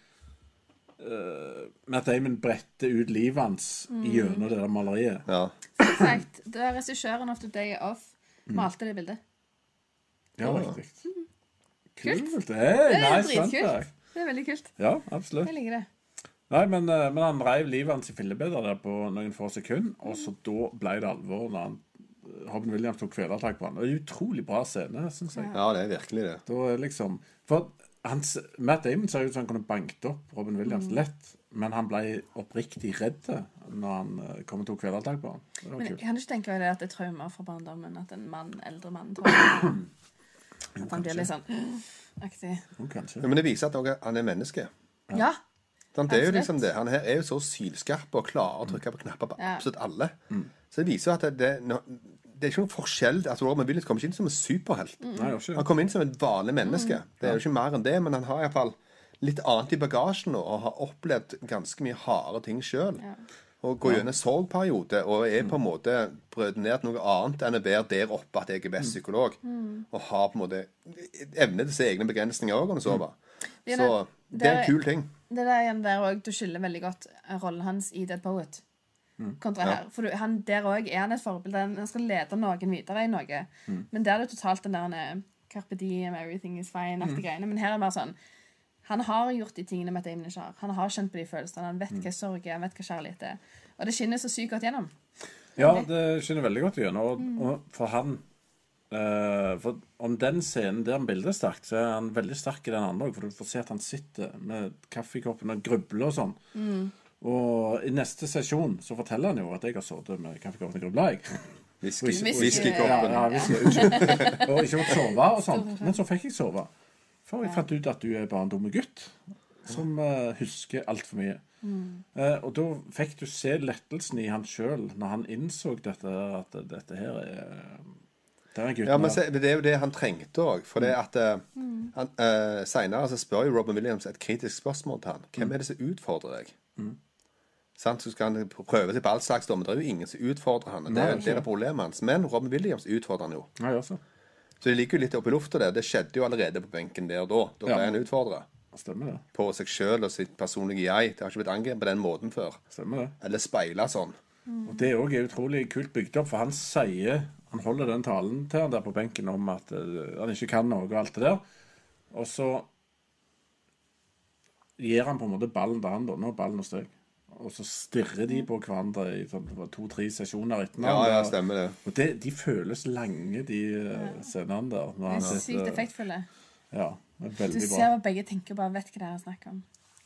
S5: eh, Matt Damon bretter ut livet hans
S7: Mm.
S5: gjennom det der maleriet.
S6: Ja.
S7: Fun fact, Da regissøren av 'The Day Off' malte det bildet.
S5: Ja, riktig. Kult. Hey,
S7: Mm. Det er
S5: nice,
S7: dritkult.
S5: dritkult.
S7: Det er veldig kult.
S5: Ja, absolutt.
S7: Jeg liker det.
S5: Nei, men, eh, men han reiv livet hans i fillebiter der på noen få sekunder, og så da ble det alvor når han, eh, Robin Williams tok kvelertak på han. Det er en utrolig bra scene, syns jeg.
S6: ja, det er virkelig det.
S5: Da er liksom, for hans, Matt Damon ser ut som han kunne banket opp Robin Williams
S6: Mm.
S5: lett, men han ble oppriktig redd når han eh, kom og tok kvelertak på han. Det var
S7: Men jeg
S5: kult.
S7: kan ikke tenke meg det at det er traumer fra barndommen. At en mann, eldre mann tar At han blir litt sånn aktig.
S5: Jo, kanskje.
S6: Ja, Men det viser at også han er menneske.
S7: Ja.
S6: Sant? Det er jo
S7: Absolutt.
S6: liksom det. Han her er jo så sylskarp og klarer å trykke på knapper på
S7: Ja.
S6: absolutt alle. Så det viser jo at det, det, nå- det er ikke noen forskjell. Altså, Robin Williams kommer ikke inn som en superhelt.
S5: Nei, jeg gjør
S6: Han
S5: ikke.
S6: kom inn som et vanlig menneske. Det er jo ikke mer enn det, men han har iallfall litt annet i bagasjen nå, og har opplevd ganske mye harde ting sjøl. Og går gjennom en sorgperiode og er på en måte brøt ned til noe annet enn å være der oppe at jeg er best psykolog. Og har på en måte evne til å se egne begrensninger òg, om så var.
S7: Det er
S6: Så
S7: det-
S6: det er
S7: det
S6: en
S7: er-
S6: kul ting.
S7: Det der igjen der òg, du skiller veldig godt eh, rollen hans i Dead Poet.
S6: Mm.
S7: Kontra her. For du, han, der òg er han et forbilde. Han- Han skal lede noen videre i noe.
S6: Mm.
S7: Men der er det totalt den der eh, Carpe diem, everything
S6: Mm.
S7: is fine-aktige greiene. Men her er det mer sånn Han har gjort de tingene Matt Damon ikke har. Han har kjent på de følelsene. Han
S6: Mm.
S7: vet hva sorg er, han vet hva kjærlighet er. Og det skinner så sykt godt gjennom.
S5: Ja, det skinner veldig godt gjennom. Og, og for han Eh, for om den scenen der han bildet er sterkt, så er han veldig sterk i den andre òg. For du får se at han sitter med kaffekoppen og grubler og sånn. Og i neste sesjon så forteller han jo at jeg har sittet med kaffekoppen og grubla, jeg.
S6: Whisky,
S7: Whisky-
S5: Ja,
S6: whiskykoppen.
S5: ja, visst, unnskyld. Og ikke fått sove og sånt. Men så fikk jeg sove. For jeg fant ut at du er bare en dumme gutt som eh, husker altfor mye. Eh, og da fikk du se lettelsen i han sjøl når han innså dette, at dette her er Det er gutten
S6: Ja, men
S5: her.
S6: se, det er jo det han trengte òg. For det at eh, han, eh, Senere så spør jo Robin Williams et kritisk spørsmål til han. Hvem er det som utfordrer deg? Sant, så skal han prøve seg på all slags dommer. Det er jo ingen som utfordrer han. og Det er jo en del av problemet hans. Men Robin Williams utfordrer han jo.
S5: Ja, jeg også.
S6: Så det ligger jo litt oppe i lufta der. Det skjedde jo allerede på benken der og da. Da ble
S5: Ja.
S6: han utfordra
S5: Stemmer det.
S6: på seg sjøl og sitt personlige jeg. Det har ikke blitt angrepet på den måten før.
S5: Stemmer det.
S6: Eller speila sånn.
S5: Og det òg er utrolig kult bygd opp, for han sier Han holder den talen til han der på benken om at eh, han ikke kan noe og alt det der. Og så gir han på en måte ballen til han, da. Nå er ballen hos deg. Og så stirrer de på hverandre i sånn, det var to-tre sesjoner etter
S6: Ja, ja,
S5: hverandre.
S6: stemmer det.
S5: Og det, de føles lange, de eh, scenene der. når
S7: Det
S5: han
S7: er sykt
S5: sitter-
S7: effektfulle.
S5: Ja, det er
S7: Du
S5: veldig
S7: ser
S5: bra.
S7: hva begge tenker, og bare vet hva det er å snakke om.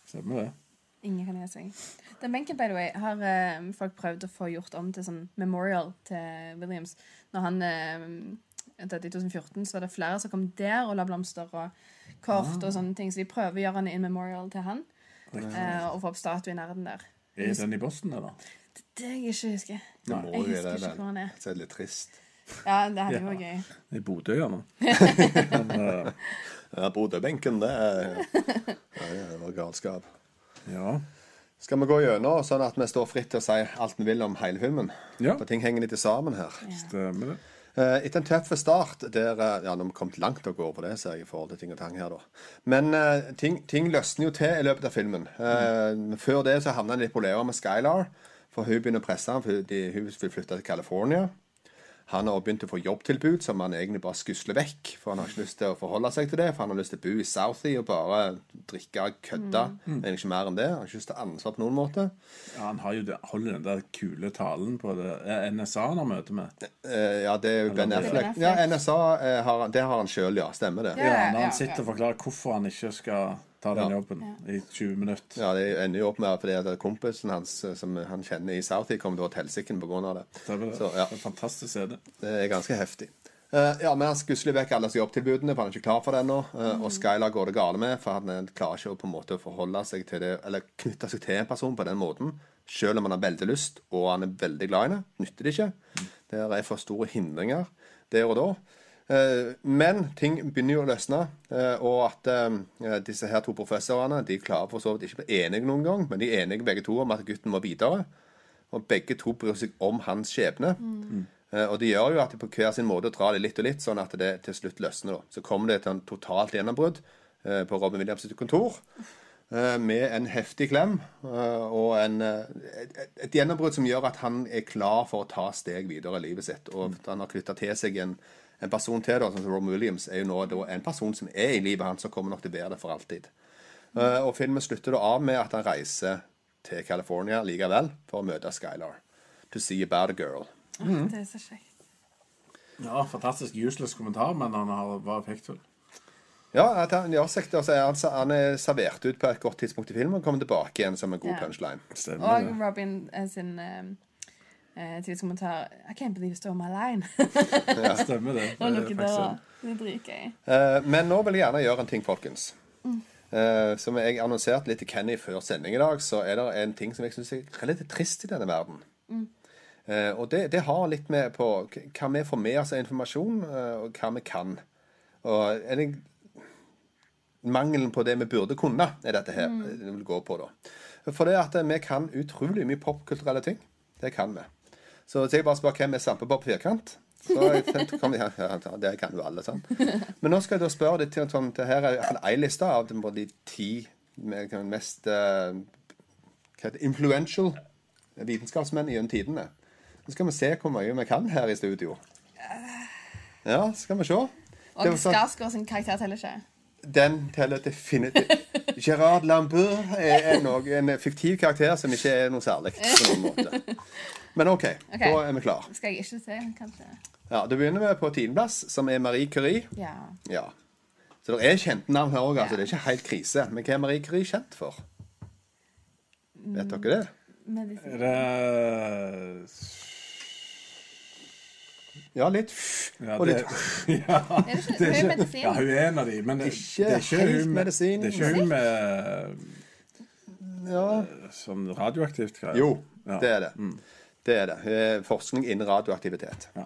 S5: Stemmer det.
S7: Ingen kan gi seg. Den benken by the way, har eh, folk prøvd å få gjort om til sånn memorial til Williams. Når han eh, døde i 2014, så var det flere som kom der og la blomster og kort og sånne ting. Så de prøver å gjøre han en memorial til han. eh, og få opp statue i nærheten der.
S5: Er den i Boston, eller?
S7: Det jeg ikke husker.
S6: Det må jo
S7: jeg
S6: være
S7: husker ikke hvor han
S6: det.
S7: er.
S6: Så er det litt trist.
S7: Ja, det hadde vært gøy.
S5: I Bodø, gjerne.
S6: Ja, Bodø-benken, det er ja, Det var galskap.
S5: Ja.
S6: Skal vi gå gjennom sånn at vi står fritt til å si alt vi vil om hele filmen?
S5: Ja.
S6: For ting henger litt sammen her.
S5: Stemmer det.
S6: Eh, Etter en tøff start der eh, Ja, nå har vi kommet langt av gårde på det, ser jeg, i forhold til ting og tang her, da. Men eh, ting, ting løsner jo til i løpet av filmen. Eh, Før det så havner han litt i problemer med Skylar, for hun begynner å presse ham, for de, hun vil flytte til California. Han har begynt å få jobbtilbud som han egentlig bare skusler vekk. For han har ikke lyst til å forholde seg til det, for han har lyst til å bo i Southie og bare drikke og kødde.
S7: Mm.
S6: Men ikke mer enn det. Han har ikke lyst til å ha ansvar på noen måte.
S5: Ja, han har jo, det- holder den der kule talen på det eh, NSA han har møte med.
S6: Eh, ja, det er jo Ben
S7: er Ben
S6: Affleck.
S7: Affleck.
S6: Ja, NSA, eh, har, han- det har han sjøl, ja. Stemmer det.
S7: Ja,
S5: Ja, når
S7: ja,
S5: han sitter og forklarer hvorfor han ikke skal ta den
S6: Ja.
S5: jobben i 20 minutter.
S6: Ja, Det ender jo opp med at fordi at kompisen hans eh, som han kjenner i Southie, kommer til å helsike på grunn av det.
S5: Det er bare-
S6: Så, ja.
S5: det er fantastisk CD.
S6: Det er ganske heftig. Eh, ja, men Han skusler vekk alle jobbtilbudene, for han er ikke klar for det ennå. Eh, Og Skylar går det gale med, for han eh, klarer ikke å på en måte forholde seg til det, eller knytte seg til en person på den måten. Selv om han har veldig lyst, og han er veldig glad i henne. Nytter det ikke. Det er for store hindringer der og da. Eh, Men ting begynner jo å løsne, eh, og at eh, disse her to professorene de klarer for så vidt ikke å bli enige noen gang, men de er enige begge to om at gutten må videre. Og begge to bryr seg om hans skjebne. Eh, Og det gjør jo at de på hver sin måte drar det litt og litt, sånn at det til slutt løsner. da. Så kommer det til en totalt gjennombrudd eh, på Robin Williams sitt kontor. eh, Med en heftig klem eh, og en, eh, et, et- et gjennombrudd som gjør at han er klar for å ta steg videre i livet sitt. Og at han har knytta til seg en, en person til, da, sånn som Robin Williams er jo nå da, en person som er i livet hans, som kommer nok til å være det for alltid. Eh, Og filmen slutter da av med at han reiser til California likevel for å møte Skylar. To see about a girl.
S7: Åh, Det er så kjekt.
S5: Ja, fantastisk useless kommentar, men han har, var effektfull.
S6: Ja, at han, gjør seg det, altså, han, han er servert ut på et godt tidspunkt i filmen og kommer tilbake igjen som en god
S7: Ja.
S6: punchline.
S5: Stemmer
S7: Og
S5: det.
S7: Robin eh, sin eh, eh, tidskommentar I can't believe you stole my line.
S5: Stemmer det.
S7: Og
S5: Det er
S7: noe
S5: faktisk-
S7: der. Det sånn. er dritgøy.
S6: Eh, men nå vil jeg gjerne gjøre en ting, folkens. Eh, som jeg annonserte litt til Kenny før sending i dag, så er det en ting som jeg syns er relativt trist i denne verden. Eh, og det, det har litt med på k- hva vi får med oss av informasjon, eh, og hva vi kan. Og er det, mangelen på det vi burde kunne, er dette her det vil gå på, da. For det at eh, vi kan utrolig mye popkulturelle ting. Det kan vi. Så hvis jeg bare spør hvem er Svampebob Firkant, så kom de her, ja, ja, det kan jo alle, sant. Men nå skal jeg da spørre deg til om det her er iallfall ei liste av de, de ti med- mest eh, hva heter det, influential vitenskapsmenn gjennom tidene. Nå skal vi se hvor mye vi kan her i studio. Ja, skal vi se. Det
S7: Og
S6: var sånn-
S7: Skarsgård sin karakter teller ikke.
S6: Den teller definitivt. Gerard Lambert er er nok en fiktiv karakter som ikke er noe særlig. på noen måte. Men OK,
S7: Ok.
S6: da er vi klar.
S7: Skal jeg ikke se, kanskje?
S6: Ja, Da begynner vi på tiendeplass, som er Marie Curie.
S7: Ja.
S6: Ja. Så det er kjente navn her òg, altså. Det
S7: Ja.
S6: er ikke helt krise. Men hva er Marie Curie kjent for? Vet dere det?
S7: Medisin.
S5: Er det
S6: Ja, litt
S5: ja,
S6: og
S5: det,
S6: litt
S5: ja,
S7: Er det ikke, det er jo medisin.
S5: ja, hun er en av de, men det,
S6: Ikke
S5: det er ikke
S6: helt
S5: hun med,
S6: medisin.
S5: Det er ikke hun med
S6: ja.
S5: sånn radioaktivt greier.
S6: Jo,
S5: Ja. Mm.
S6: det er det. Det er det. Eh, Forskning innen radioaktivitet.
S5: Ja.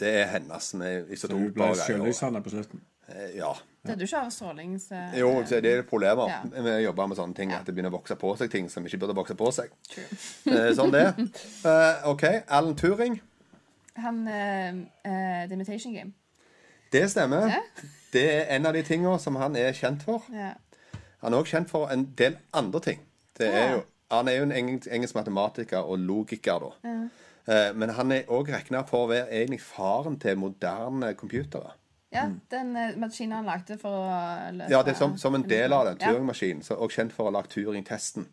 S6: Det er hennes med
S5: Hun
S6: isotoper
S5: ble
S6: og greier.
S5: sjølysende på slutten.
S6: Eh, Ja.
S7: Det er du ikke av strålings... eh,
S6: Jo, så det er problemer
S7: Ja.
S6: med å jobbe med sånne ting. At det begynner å vokse på seg ting som ikke burde vokse på seg.
S7: True.
S6: Eh, Sånn det. Eh, OK. Alan Turing.
S7: Han eh, eh, The Imitation Game.
S6: Det stemmer.
S7: Ja.
S6: Det er en av de tingene som han er kjent for.
S7: Ja.
S6: Han er òg kjent for en del andre ting. Det er jo, han er jo en engelsk, engelsk matematiker og logiker, da. Eh, Men han er òg regna for å være egentlig faren til moderne computere.
S7: Ja, den eh, maskinen han lagde for å løse
S6: Mm. Ja, det er som, som en del av den
S7: Ja.
S6: Turing-maskinen, som òg kjent for å ha lagd Turing-testen.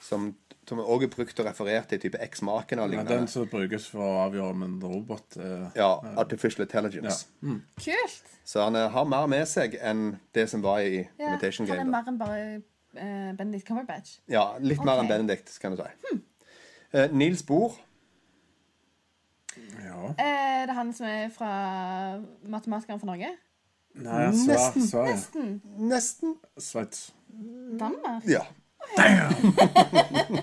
S6: Som, som òg er brukt og referert til type X-maken og
S5: Ja, den
S6: lignende.
S5: som brukes for å avgjøre om en robot eh,
S6: Ja, Artificial Intelligence.
S7: Kult!
S6: Så han eh, har mer med seg enn det som var i
S7: Ja,
S6: Imitation
S7: han er
S6: Game. da.
S7: mer enn bare uh, Benedict Cumberbatch.
S6: Ja, litt mer enn
S7: Ok. Hm.
S6: Benedict, kan du si. Eh, Niels Bohr.
S5: ja.
S7: Eh, det er han som er fra Matematikeren fra Norge?
S5: Nei, Sver- Sverige.
S6: Nesten.
S5: Sveits.
S7: Mm. Danmark?
S6: Ja.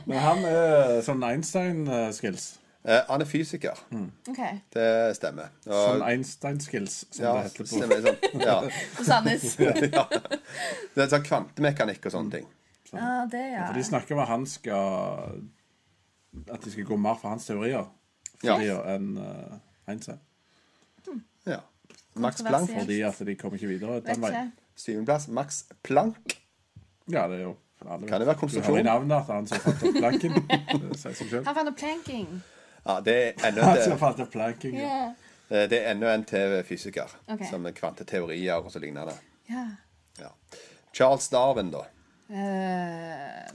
S5: Men han er sånn Einstein-skills.
S6: Eh, han er fysiker.
S5: Hm.
S7: OK.
S6: Det stemmer. Og-
S5: Sånn Einstein-skills, som
S6: ja,
S5: det heter på
S6: stemmer, sånn. ja.
S7: Susannes.
S6: Det er sånn kvantemekanikk og
S7: Hm.
S6: sånne ting.
S7: Ja, det, ja.
S5: For de snakker om at han skal At de skal gå mer for hans teorier
S6: Ja.
S5: teorier enn eh, Einstein.
S6: ja. Max Planck.
S7: Kontroversielt.
S5: Fordi at de kommer ikke videre
S7: Vet
S5: den
S7: ikke.
S5: veien.
S6: Syvendeplass. Max Planck.
S5: Ja, det er jo alle
S6: Kan
S5: vet.
S6: det være
S5: Du har
S6: konstruksjon?
S5: i navnet at han som fant opp planken. Det sier seg selv.
S7: Han fant opp planking.
S6: Ja, det er enda
S5: Han som
S6: en,
S5: fant opp planking, ja.
S7: Ja.
S6: til- Eh, det er enda en til fysiker.
S7: Ok.
S6: Som er kvanteteorier og så lignende.
S7: ja.
S6: Ja. Charles Darwin, da.
S7: Eh,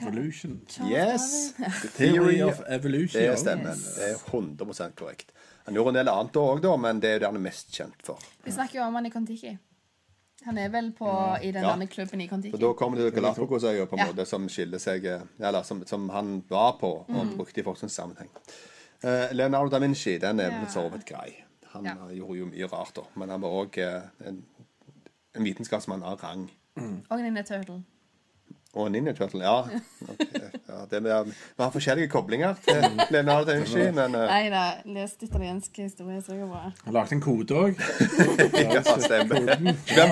S5: Evolution.
S6: Yes! The
S5: Theory of evolution. ja.
S6: Det stemmer. Det er 100 korrekt. Han gjorde en del annet òg, da, men det er jo det han er mest kjent for.
S7: vi snakker jo om han i Kon-Tiki. Han er vel på, i den
S6: Ja.
S7: andre klubben i
S6: For
S7: Kon-Tiki.
S6: da kommer det Galapagosøya på en
S7: Ja.
S6: måte som skiller seg eh, Eller som, som han var på og
S7: Mm.
S6: brukte i forskningssammenheng. Eh, Leonardo da Vinci den er
S7: Ja.
S6: for så vidt grei. Han
S7: Ja.
S6: eh, gjorde jo mye rart, da. Men han var òg en, en vitenskapsmann av rang.
S7: Og Ninja Turtle.
S6: Og Ninja Turtle, ja. Ok, ja det er, vi har forskjellige koblinger til Leonardo da Vinci, men eh,
S7: Nei da, lest italiensk historie, så det går bra.
S5: Han lagde en kode òg.
S6: ja, stemmer. Glem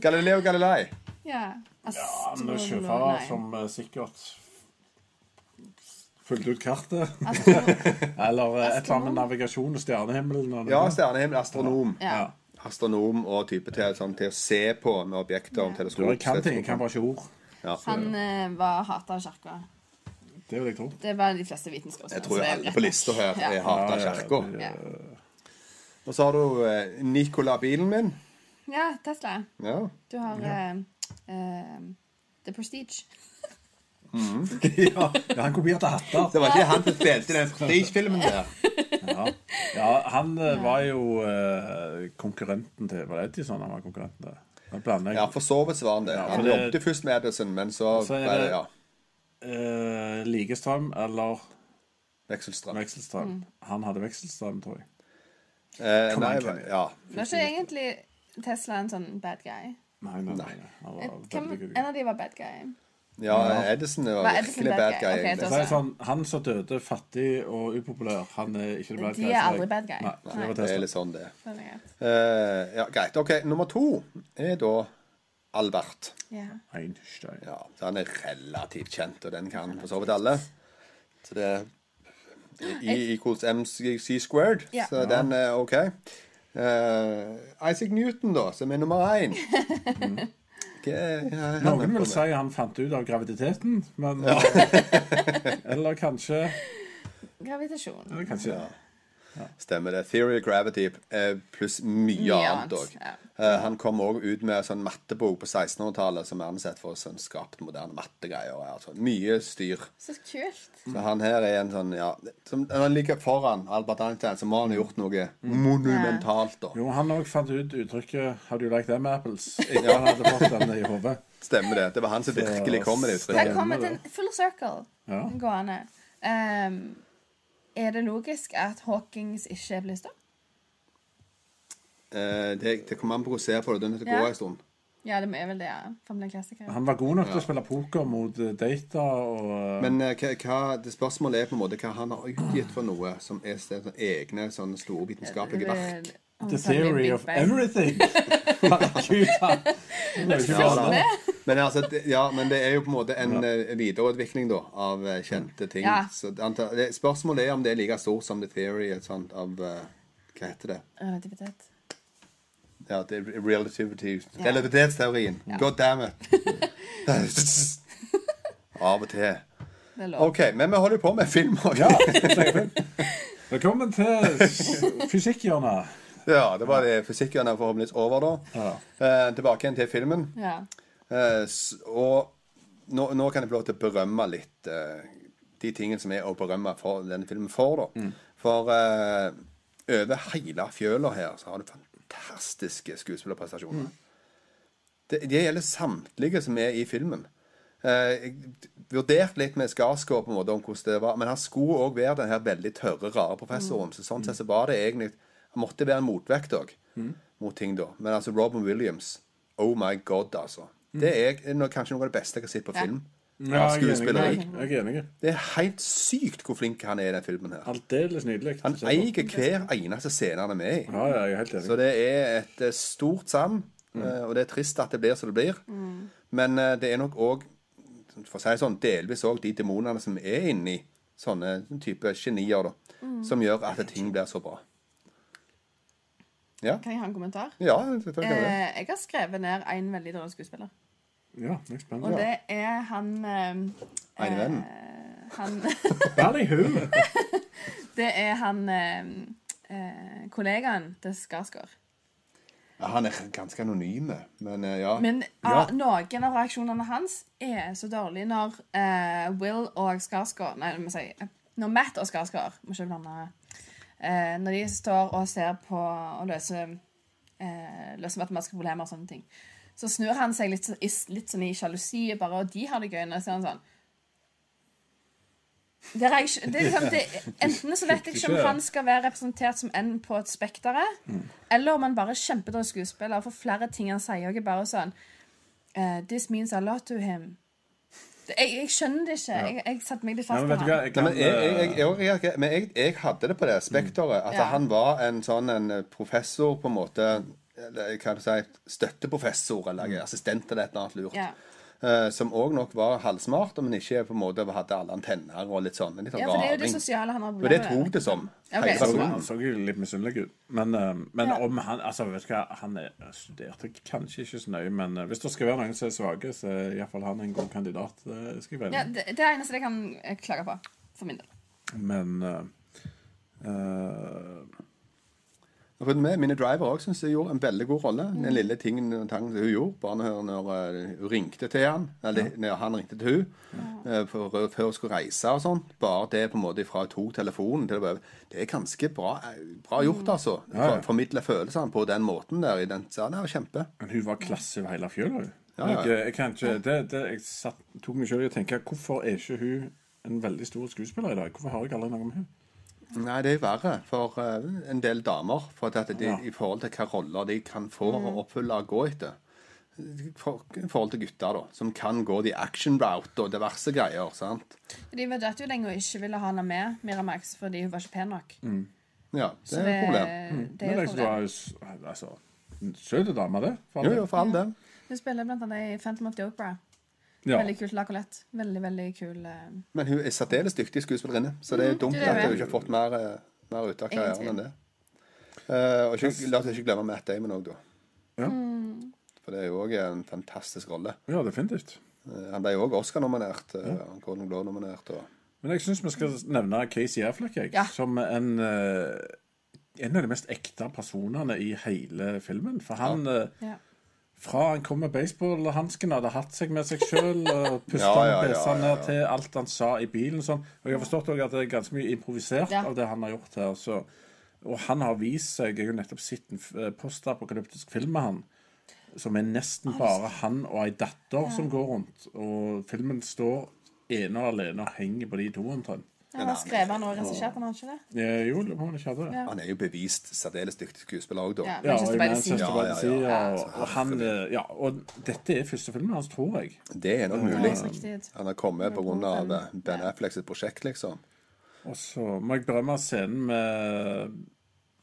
S6: Galileo Galilei.
S7: Ja.
S5: Han
S7: Astro-
S5: er sjøfarer som eh, sikkert fulgte ut kartet.
S7: Astro-
S5: Eller eh, et eller annet med navigasjon og stjernehimmelen. Og
S6: Ja, stjernehimmel. Astronom.
S7: Ja.
S5: Ja.
S6: Astronom og type til, sånn, til å se på med objekter. og
S5: Du
S6: teleskop.
S5: jeg kan ting, jeg kan bare ikke ord.
S6: Ja.
S7: Han eh, var hata av kirka.
S5: Det vil jeg tro.
S7: Det var de fleste vitenskapsmenn.
S6: Jeg tror
S7: så
S6: jo
S7: det er
S6: alle
S7: rett
S6: på
S7: nok.
S6: lista her
S7: Ja.
S6: er hardt av kirka.
S7: Ja.
S6: Og så har du eh, Nicola-bilen min.
S7: ja, Tesla.
S6: Ja.
S7: Du har eh, eh, The Prestige.
S5: Ja, han kopierte hatter.
S6: Det var ikke han som spilte i den prestigefilmen der.
S5: Ja, han eh, var jo eh, konkurrenten til Var det Edison han var konkurrenten til? Nå blander jeg
S6: Ja, for så vidt så var han det.
S5: Ja, for
S6: Han
S5: det-
S6: jobbet først med Edison, men så
S5: Så er
S6: ble det
S5: det-
S6: ja,
S5: eh, Likestrøm eller
S6: vekselstrøm.
S5: vekselstrøm. Han hadde vekselstrøm, tror jeg.
S6: Eh, nei,
S5: igjen, Kenny.
S6: ja.
S7: Var ikke egentlig Tesla en sånn bad guy?
S5: Nei, nei, nei. Han var
S7: Hvem,
S5: veldig god.
S7: en av de var bad guy.
S6: ja, Edison var
S7: Var Edison
S6: virkelig
S7: bad
S6: bad
S7: guy?
S6: guy.
S7: Ok,
S6: egentlig.
S7: da-
S5: Så er det sånn, Han som døde fattig og upopulær, han er ikke det bad
S7: De
S5: guy,
S7: er
S5: så jeg-
S7: aldri bad guy.
S5: Nei, så det
S7: Nei.
S5: var
S6: Det er
S5: Tesla.
S6: litt sånn det.
S7: Det er greit.
S6: Eh, ja, greit. OK, nummer to er da Albert.
S7: Ja.
S5: Einstein.
S6: Ja, så han er relativt kjent, og den kan for så vidt alle. Så det er I equals MC squared,
S7: Ja.
S6: så den er OK. Eh, Isaac Newton, da, som er nummer én. Mm. Hva er- hva er han
S5: Noen vil
S6: på med?
S5: si han fant ut av graviditeten, men Eller kanskje
S7: Gravitasjon.
S5: Eller kanskje
S6: Ja. Stemmer det. Theory of Gravity eh, pluss mye
S7: Mye
S6: annet
S7: annet,
S6: òg.
S7: ja.
S6: Han kom òg ut med en sånn mattebok på 1600-tallet som er ansett for sånn skapt moderne mattegreier. Altså. Mye styr.
S7: Så kult.
S6: Så han her er en sånn, ja som, Når han ligger foran Albert Einstein, så må han ha gjort noe monumentalt, da.
S5: Jo, han òg fant ut uttrykket 'How do you like them apples?' Ikke han hadde fått den i hodet.
S6: Stemmer det. Det var han som virkelig kom med det
S7: Her
S6: uttrykket.
S7: kommer til en full circle
S5: Ja.
S7: gående. Ehm, er det logisk at Hawkins ikke er på lista?
S6: Eh, det, det kommer an på hvordan du ser på det. Du er nødt til å gå
S7: Ja.
S6: en stund.
S7: Ja, det er vel det. ja. Family Classic. ja.
S5: Han var god nok til å spille poker mot eh, data og eh,
S6: Men eh, hva, hva, det spørsmålet er på en måte hva han har utgitt for noe som er sted- sånne egne sånne store vitenskapelige verk.
S7: Det- om
S5: The
S7: Family
S5: Theory
S7: sånn Big
S5: of
S7: Bang.
S5: Everything. Herregud, da. Det var jo ikke sånn. vanlig.
S6: Men, altså, det, ja, men det er jo på en måte en eh, videreutvikling da, av eh, kjente ting.
S7: Ja.
S6: Så det anta- det, spørsmålet er om det er like stort som The Theory et sånt, av eh, Hva heter det?
S7: Relativitet.
S6: Ja, det er relativity. Relativitetsteorien. God damn it. Av og til.
S7: Det er lov.
S6: OK, men vi holder på med film òg.
S5: Ja, Velkommen til s- Fysikkhjørnet.
S6: Ja, det var det fysikken er forhåpentligvis over, da. Eh, tilbake igjen til filmen.
S7: Ja.
S6: Eh, s- og nå, nå kan jeg få lov til å berømme litt eh, de tingene som er å berømme for denne filmen for, da. For eh, over hele fjøla her så har du fantastiske skuespillerprestasjoner. Det, det gjelder samtlige som er i filmen. Eh, jeg vurderte litt med Skarsgård på en måte om hvordan det var, men han skulle òg være den her veldig tørre, rare professoren. Så sånn sett så var det egentlig Han måtte være en motvekt òg mot ting da. Men altså Robin Williams Oh my god, altså. Det er no- kanskje noe av det beste jeg har sett på film.
S5: Ja,
S6: Av
S5: jeg er
S6: skuespilleri.
S5: enig. Jeg er enig.
S6: Det er helt sykt hvor flink han er i den filmen her.
S5: Aldeles nydelig.
S6: Han eier hver eneste scene han er med i.
S5: Ja, ja, jeg er helt
S6: Så
S5: enig.
S6: det er et eh, stort savn, eh, og det er trist at det blir som det blir. Men eh, det er nok òg, for å si det sånn, delvis òg de demonene som er inni sånne type genier, da, som gjør at ting blir så bra. Ja,
S7: Kan jeg ha en kommentar?
S6: ja selvfølgelig. kan det.
S7: Eh, jeg har skrevet ned en veldig dårlig skuespiller.
S5: Ja, jeg er
S7: Og
S5: spent.
S7: det er han eh,
S6: Ene vennen.
S7: eh, Han
S5: Vær i huet.
S7: Det er han eh, eh, kollegaen til Skarsgård.
S6: Ja, han er ganske anonyme, men eh, ja.
S7: Men
S6: ja.
S7: ah, noen av reaksjonene hans er så dårlige når eh, Will og Skarsgård Nei, jeg må si eh, Når Matt og Skarsgård Må ikke blande eh, Når de står og ser på og løser, eh, løser matematiske problemer og sånne ting, så snur han seg litt, så- i, litt sånn i sjalusi bare, og de har det gøy. Når så er han sånn det er, reaksj- det er liksom, det, enten så vet jeg ikke om han skal være representert som en på et spekteret, eller om han bare er kjempedårlig skuespiller, for flere ting han sier, og er bare sånn eh, This means a lot to him. Det, jeg, jeg skjønner det ikke. Jeg, jeg satte meg litt
S5: Ja, men
S7: fast på
S5: vet du hva,
S7: han.
S5: jeg
S6: Nei,
S5: kan
S6: men jeg, jeg, jeg,
S5: eh,
S6: jeg, reagerer- men jeg, jeg hadde det på det spekteret. At
S7: Ja.
S6: han var en sånn en professor, på en måte eller, Hva kan du si Støtteprofessor eller assistent eller et eller annet lurt.
S7: Mm. Ja.
S6: Eh, som òg nok var halvsmart, men ikke på en måte hadde alle antenner og litt sånn. en Litt sånn
S7: ja, for det er jo det
S6: raring.
S7: sosiale han har
S6: Men det
S7: problemer
S6: tok
S7: med.
S6: det som.
S7: Ok,
S6: hele
S7: så
S5: så-
S7: bra.
S6: personen.
S5: han så jo litt misunnelig ut. Men, eh, men
S7: Ja.
S5: om han altså, vet du hva, Han er- studerte kanskje ikke så nøye, men eh, hvis det skal være noen som er svake, så er iallfall han en god kandidat. Det skal jeg være enig i.
S7: Ja, det, det er det eneste jeg kan eh, klage på. For min del.
S5: Men eh, eh,
S6: Og for meg, Mine driver òg syns jeg gjorde en veldig god rolle. Den lille tingen og tangen som hun gjorde, bare når, når eh, hun ringte til han, eller når han ringte til hun, eh, for, før hun skulle reise og sånn. Bare det på en måte fra hun tok telefonen til det var over. Det er ganske bra, bra gjort, altså. For, formidle følelsene på den måten der. i den, så han er jo kjempe.
S5: Men hun var klasse over hele fjøla, hun.
S6: Ja, ja.
S5: Jeg, jeg, kan ikke, det, det, jeg satt, tok meg selv i å tenke hvorfor er ikke hun en veldig stor skuespiller i dag? Hvorfor har jeg aldri noe om hun?
S6: Nei, det er verre for eh, en del damer. For at de,
S5: Ja.
S6: I forhold til hva roller de kan få og oppfylle og gå etter. For, I forhold til gutter, da. Som kan gå the action route og diverse greier. sant?
S7: De vurderte jo lenge å ikke ville ha henne med Miramax fordi hun var ikke pen nok.
S6: Ja, det
S7: Så
S6: er et problem.
S7: det er
S5: Mm. Men
S7: jo et
S5: liksom, det
S7: problem.
S5: var jo s- altså, en søte dame, det. for
S6: Jo,
S5: all
S6: jo, for all del.
S7: Hun spiller blant annet i Phantom of the Opera.
S5: del. ja.
S7: Veldig kult lakolett. Veldig, veldig kul eh,
S6: Men hun er særdeles dyktig skuespillerinne, så det er dumt
S7: Mm, det er
S6: at hun
S7: det.
S6: ikke har fått mer, eh, mer ut av
S7: Ingen
S6: karrieren enn det. Eh, og ikke, la oss ikke glemme Matt Damon òg, da. Mm.
S5: Ja.
S6: For det er jo òg en fantastisk rolle.
S5: ja, definitivt.
S6: Eh, han ble jo òg Oscar-nominert. eh, Golden Globe-nominert. Og...
S5: Men jeg syns vi skal nevne Casey Affleck, jeg,
S7: Ja.
S5: som en, eh, en av de mest ekte personene i hele filmen. For han eh,
S7: Ja.
S5: Fra han kom med baseballhansken, hadde hatt seg med seg sjøl og pusta
S6: Ja, ja, ja,
S5: med besene
S6: ja, ja.
S5: til alt han sa i bilen. og Sånn. Og jeg har forstått også at det er ganske mye improvisert
S7: Ja.
S5: av det han har gjort her. Så. Og han har vist seg Jeg har jo nettopp sett en f- eh, postapokalyptisk film med han. Som er nesten bare han og ei datter som går rundt. Og filmen står ene og alene og henger på de to, omtrent.
S7: Ja, da skrev han og regisserte han, har han ikke det?
S5: Eh, Jo, lurer på om han ikke hadde det.
S6: Han er jo bevist særdeles dyktig skuespiller òg, da.
S7: Ja,
S5: Ja,
S7: Manchester
S5: i
S7: by the
S5: Manchester
S7: Sea.
S5: by the Sea,
S6: Ja, ja, ja.
S5: og- Og, han, eh, ja, og dette er første filmen hans, tror jeg.
S6: Det er nok
S7: Ja,
S6: mulig.
S7: så riktig.
S6: Han har kommet pga. eh, Ben Affleck sitt prosjekt, liksom.
S5: Og så må jeg berømme scenen med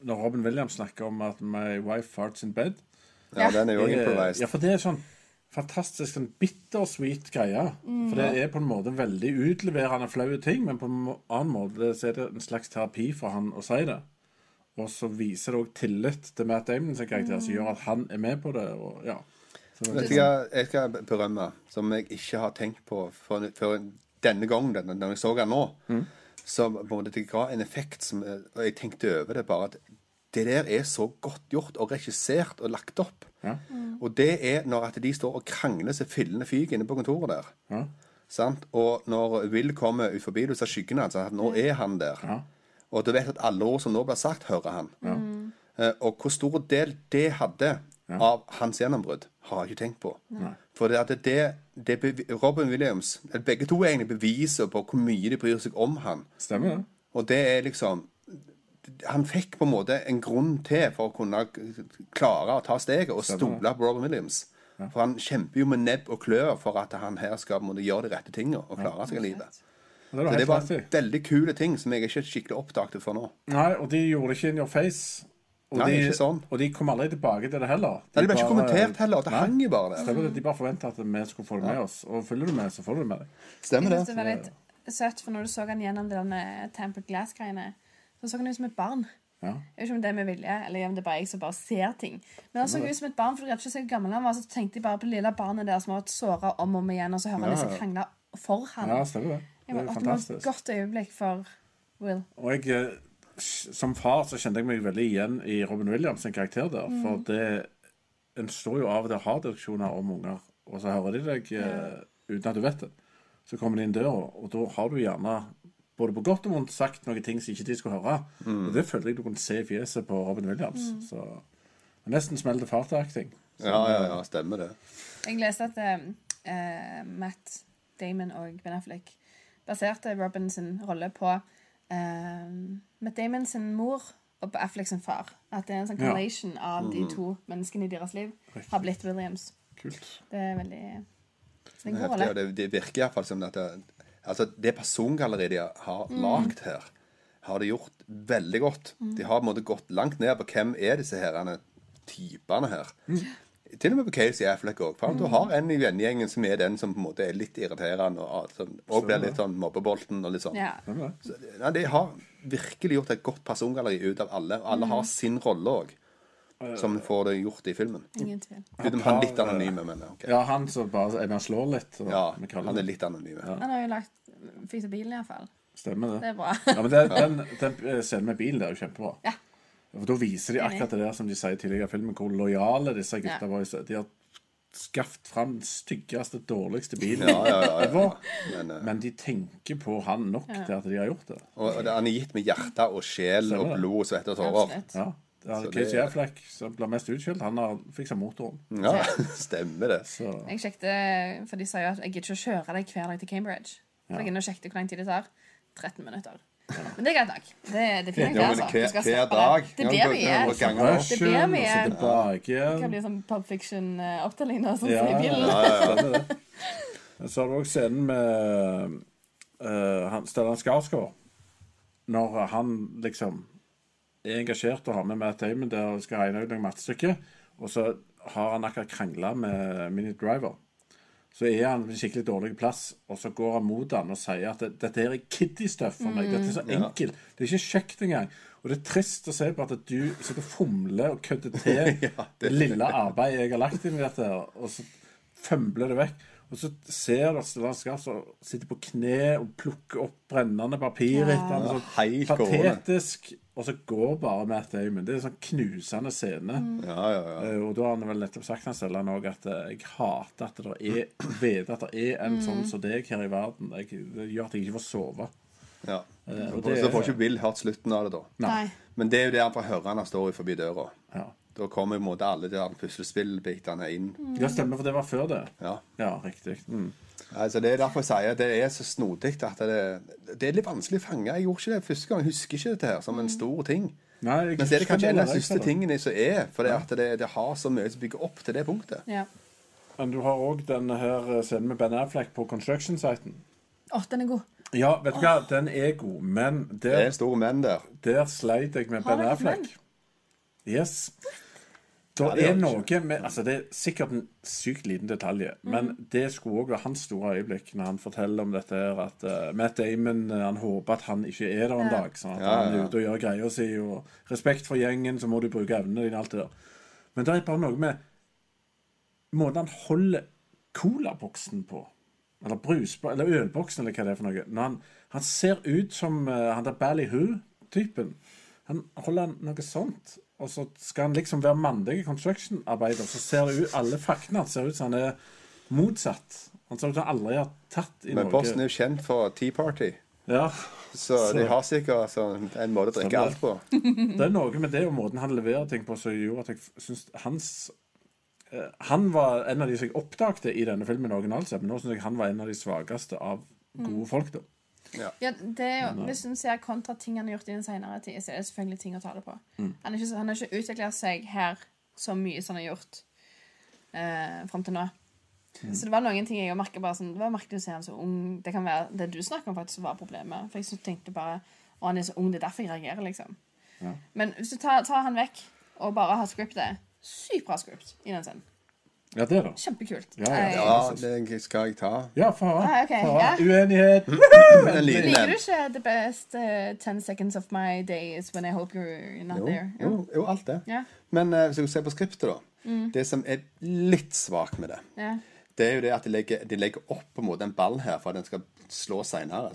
S5: Når Robin Williams snakker om at 'my wife farts in bed'.
S6: Ja,
S7: Ja.
S6: den er jo
S5: Eh, Ja,
S6: improvised.
S5: for det er sånn fantastisk sånn bittersweet greie. For det er på en måte veldig utleverende flaue ting, men på en må- annen måte så er det en slags terapi for han å si det. Og så viser det òg tillit til Matt Damon sin karakter, som gjør at han er med på det. Og, ja. Så,
S6: Vet du hva jeg skal berømme, som jeg ikke har tenkt på før før denne gangen, den- når jeg så den nå, så på en måte det ga en effekt som eh, Og jeg tenkte over det bare at det der er så godt gjort og regissert og lagt opp. Mm. Og det er når at de står og krangler så fillene fyker inne på kontoret der. Sant? Og når Will kommer ut forbi, du ser skyggen hans, at nå er han der. Og du vet at alle ord som nå blir sagt, hører han. Eh, Og hvor stor del det hadde av hans gjennombrudd, har jeg ikke tenkt på. For det at det, det bevi- Robin Williams eller Begge to er egentlig beviser på hvor mye de bryr seg om han.
S5: stemmer det?
S6: Og det er liksom Han fikk på en måte en grunn til for å kunne klare å ta steget og stole på Robin Williams. For han kjemper jo med nebb og klør for at han her skal på en måte gjøre de rette tingene og klare seg i livet.
S5: Og det er du
S6: Så det
S5: helt
S6: var
S5: rett i.
S6: veldig kule ting som jeg ikke skikkelig oppdaget før nå.
S5: Nei, og de gjorde det ikke in your face. Og,
S6: Nei,
S5: de,
S6: ikke sånn.
S5: og de kom aldri tilbake til det heller.
S6: Nei, det ble ikke
S5: bare-
S6: kommentert heller. Det hang jo bare der.
S5: Stemmer det, De bare forventa at vi skulle få det med oss. Og følger du med, så får du det med deg.
S6: Stemmer
S7: Jeg synes
S6: det.
S7: det var litt søtt, for når du så han gjennom det der Tampered Glass-greiene, så så han ut som et barn.
S5: Ja.
S7: Jeg vet ikke om det er med vilje, eller om det er bare jeg som bare ser ting. Men han så ut som et barn, for jeg vet ikke så gammel han var, så tenkte jeg bare på det lille barnet der som har vært såra om og om igjen, og så hører han
S5: Ja, ja.
S7: disse krangler for han.
S5: ja, stemmer det. Det
S7: Jeg
S5: er
S7: må- at det var et
S5: fantastisk.
S7: godt øyeblikk for Will.
S5: Og jeg, eh, s- som far så kjente jeg meg veldig igjen i Robin Williams' sin karakter der. For det, en står jo av og til og har diskusjoner om unger, og så hører de deg eh, uten at du vet det. Så kommer de inn døra, og da har du gjerne både på godt og vondt sagt noen ting som ikke de skulle høre. Og det følte jeg du kunne se i fjeset på Robin Williams. Så det er nesten smell til far-til-acting.
S6: Ja, ja, ja, stemmer det.
S7: Jeg leste at eh, eh, Matt Damon og Ben Affleck baserte Robin sin rolle på eh, Matt Damon sin mor og på Affleck sin far. At det er en sånn
S5: Ja.
S7: correlation av
S6: Mm.
S7: de to menneskene i deres liv har blitt Williams.
S5: Kult.
S7: Det er veldig det er en
S6: Det, er
S7: god
S6: heftig, og
S7: rolle.
S6: det, det virker iallfall som at det, altså det persongalleriet de har lagd her, har de gjort veldig godt. De har på en måte gått langt ned på hvem er disse herrene, typene her. Til og med på Casey Affleck òg. Du har en i vennegjengen som er den som på en måte er litt irriterende og, som og blir litt sånn mobbebolten og litt sånn.
S7: Ja.
S6: Så, nei, de har virkelig gjort et godt persongalleri ut av alle. og Alle har sin rolle òg, som får det gjort i filmen.
S7: Ingen tvil.
S6: Utenom han litt anonyme, men ok.
S5: Ja, han som bare ennå slår litt. Og,
S6: Ja,
S5: vi kaller
S6: han
S5: det.
S6: er litt anonyme.
S7: Han har jo lagt fiksa bilen, iallfall.
S5: Stemmer det.
S7: Det er bra.
S5: Ja, men den, den, den eh, scenen med bilen der er jo kjempebra.
S7: Ja.
S5: For Da viser de akkurat det der som de sier tidligere i filmen, hvor lojale disse gutta
S7: Ja.
S5: var. i seg. De har skaffet fram den styggeste, dårligste bilen.
S6: Ja, ja, ja, ja.
S5: ever.
S6: Men, eh,
S5: Men de tenker på han nok til at de har gjort det.
S6: og, og det- han er gitt med hjerte og sjel og
S5: det.
S6: blod og svette og tårer.
S7: Absolutt.
S5: Ja. Det er
S6: Så det-
S5: Casey Affleck som ble mest utskjelt. Han har fiksa motoren.
S6: Ja, stemmer det.
S5: Så,
S7: Jeg sjekket, eh, for de sa jo at jeg gidder ikke å kjøre deg hver dag til Cambridge. Så jeg gikk inn og sjekket hvor lang tid det tar. 13 minutter. Men det er greit nok. Det, det er fint,
S6: Jo,
S7: det,
S6: men
S7: altså.
S6: hver-
S7: Du skal
S6: hver
S7: stoppe
S6: dag.
S7: Det, det
S6: Ja,
S7: blir
S6: du-
S7: mye.
S6: du må gange opp.
S7: Det blir
S5: Rushen, og så
S7: mye.
S5: tilbake
S7: Det kan
S5: igjen.
S7: bli sånn Pub Fiction-opptelling nå, sånn
S5: Ja,
S7: som i
S5: ja,
S7: bilen.
S5: ja, stemmer det. Men Så har du òg scenen med eh, han- Stellan Skarsgård. Når han liksom er engasjert og har med Matt Damon der og skal regne ut noen mattestykker, og så har han akkurat krangla med Minute Driver. Så er han på en skikkelig dårlig plass, og så går han mot han og sier at det- dette her er kiddie stuff for meg. Dette er så enkelt. Det er ikke kjekt engang. Og det er trist å se på at du sitter og fomler og kødder til det lille arbeidet jeg har lagt inn i dette, her, og så fømbler det vekk. Og så ser du at Stellan Skarsgård som sitter på kne og plukker opp brennende papir etter ham.
S6: Ja,
S5: Sånn
S6: helt gående.
S5: patetisk. Og så går bare Matt Damon. Det er en sånn knusende scene.
S6: Ja, ja, ja.
S5: Eh, Og da har han vel nettopp sagt han selv han også, at eh, jeg hater at det er vet at det er en sånn som deg her i verden. Jeg, det gjør at jeg ikke får sove.
S6: ja.
S5: Eh, og
S6: Så
S5: det-
S6: så får ikke Bill hørt slutten av det, da.
S7: Nei.
S6: Men det er jo det han får høre når han står forbi døra.
S5: Ja,
S6: Da kommer på en måte alle de der puslespillbitene inn.
S5: ja stemmer, for det var før det.
S6: Ja.
S5: Ja, riktig. Mm.
S6: Altså, det er derfor jeg sier at det er så snodig at det, det er litt vanskelig å fange. Jeg gjorde ikke det første gang. Jeg husker ikke dette her som
S7: Mm.
S6: en stor ting.
S5: Nei, jeg
S6: Men så er det
S5: husker
S6: kanskje en av
S5: heller,
S6: de siste
S5: jeg ser det.
S6: tingene som er, for det, at det, det har så mye som bygger opp til det punktet.
S7: Ja.
S5: Men du har òg denne her eh, scenen med Ben Affleck på construction-siten.
S7: Å, den er god.
S5: Ja, vet du hva, den er god, men
S6: Det
S5: der,
S6: er store menn der.
S5: der sleit jeg med
S7: Har
S5: Ben
S7: dere
S5: Affleck. Yes. Det
S6: Ja, det
S5: er
S6: har
S5: noe med Altså, det er sikkert en sykt liten detalj, men det skulle òg være hans store øyeblikk når han forteller om dette her at eh, Matt Damon eh, han håper at han ikke er der en dag. Sånn at
S6: Ja, ja,
S5: han
S6: ja.
S5: er ute og gjør greia si, og respekt for gjengen, så må du bruke evnene dine, alt det der. Men det er bare noe med måten han holder colaboksen på. Eller brusbo- eller ølboksen, eller hva det er for noe. Når han, han ser ut som eh, han der Ballyhoo-typen. Han holder han noe sånt. Og så skal han liksom være mandig construction-arbeider. Så ser det ut, alle faktene hans ser ut som han er motsatt. Han ser ut som han aldri har tatt i
S6: Men Boston
S5: Norge.
S6: er jo kjent for Tea Party,
S5: Ja,
S6: så de har sikkert sånn en måte å drikke alt på.
S5: det er noe med det og måten han leverer ting på som gjorde at jeg f- syns hans eh, han var en av de som jeg oppdagte i denne filmen originalt sett, men nå syns jeg han var en av de svakeste av gode
S7: Mm.
S5: folk, da.
S7: Ja, det er jo,
S5: eh,
S7: hvis du ser kontra ting han har gjort i den senere tid, så er det selvfølgelig ting å ta det på.
S5: Mm.
S7: Han, er ikke, så- han har ikke utvikla seg her så mye som han har gjort eh, fram til nå.
S5: Mm.
S7: Så det var noen ting jeg merka bare sånn, Det var merkelig å se han så ung. Det kan være det du snakker om, faktisk var problemet. For jeg synes- tenkte bare Å, han er så ung, det er derfor jeg reagerer, liksom. Men hvis du tar, tar han vekk og bare har scriptet Sykt bra script i den scenen.
S5: Ja, det, da.
S7: Kjempekult.
S5: Ja, ja.
S7: Jeg-
S6: Ja, det skal jeg ta.
S5: Ja, faen.
S7: Ah, ok,
S5: faen.
S7: ja.
S5: Uenighet.
S6: Den lyden
S7: Liker
S6: der.
S7: du ikke the best uh, 10 seconds of my day is when I hope you're not
S6: Jo,
S7: there?
S6: jo, jo, alt det.
S7: Ja.
S6: Men eh, hvis du ser på skriptet, da. Det som er litt svakt med det,
S7: Ja.
S6: det er jo det at de legger, de legger opp på en måte en ball her for at den skal slå seinere.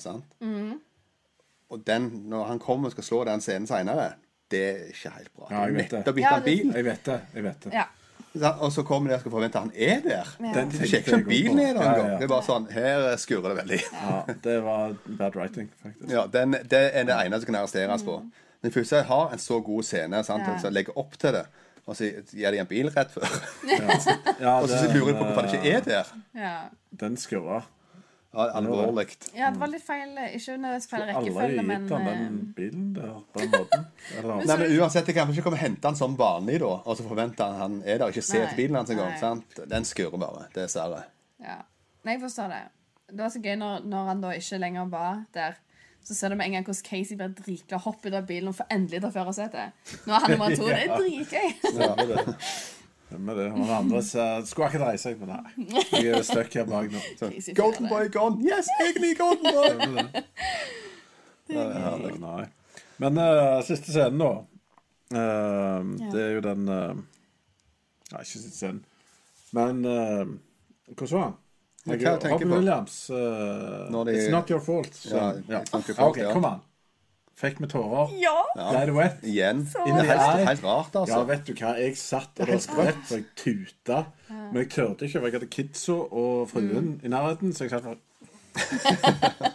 S6: Og den, når han kommer og skal slå den scenen seinere, det er ikke helt bra.
S5: Ja, jeg vet det.
S6: Nettopp
S7: Ja,
S6: bytta en bil,
S5: Jeg vet det. jeg vet det.
S7: ja.
S6: sant? og så kommer de og skal forvente at han er der.
S5: Den
S6: Du
S5: tenkte
S6: sjekker
S5: jeg
S6: ikke om bilen
S5: også
S6: er der
S5: på.
S6: engang.
S5: Ja,
S6: Det
S5: ja.
S6: er bare sånn Her skurrer det veldig.
S5: ja, det var bad writing, faktisk.
S6: Ja, den, Det er det ene som kan arresteres på. Men først jeg har en så god scene, sant?
S7: Mm. Ja.
S6: og så legger opp til det, og så gir de en bil rett før.
S5: Ja,
S6: Og så
S5: det-
S6: lurer jeg på hvorfor det ikke er der.
S7: Ja.
S5: Den skurra.
S6: Ja, Alvorlig.
S7: ja, det var litt feil Ikke nødvendigvis feil
S5: Aldri
S7: rekkefølge,
S5: gitt
S7: men eh,
S5: han den bilen der på den måten. Eller,
S6: Nei, men uansett, Jeg kan ikke komme og hente han som vanlig, da, og så forvente han han er der. Ikke se
S7: Nei,
S6: til bilen hans engang.
S7: nei.
S6: sant? Den skurrer bare, dessverre.
S7: eh, ja. Nei, jeg forstår det. Det var så gøy når, når han da ikke lenger var der. Så ser du med en gang hvordan Casey blir dritglad, hopper ut av bilen og får endelig ta førersetet. Nå er han nummer to. Det er dritgøy.
S5: Stemmer det. Og den andre sa, skulle akkurat reise seg, men nei. Jeg er stuck her bak nå. Så,
S7: Casey får
S6: Golden
S7: det.
S6: boy gone! Yes, egentlig golden boy!
S5: nei. Men eh, siste scenen, da. Eh, Det er jo den eh, Nei, ikke siste scenen. Men eh, hvordan var han?
S6: Men hva tenker
S5: Robin
S6: på?
S5: Williams. eh,
S6: Når de-
S5: It's not your fault. Så,
S6: Ja,
S5: ja.
S6: it's not your
S5: Ah, OK,
S6: fault, ja.
S5: kom an. Fikk med tårer.
S7: Ja.
S5: Blei det wet?
S6: Igjen.
S5: In the
S6: Det er helt,
S5: eye.
S6: helt rart, altså.
S5: Ja, vet du hva. Jeg satt og
S6: helt
S5: rett og jeg tuta. Men jeg turte ikke, for jeg hadde kidsa og
S7: Mm.
S5: fruen i nærheten. Så jeg satt bare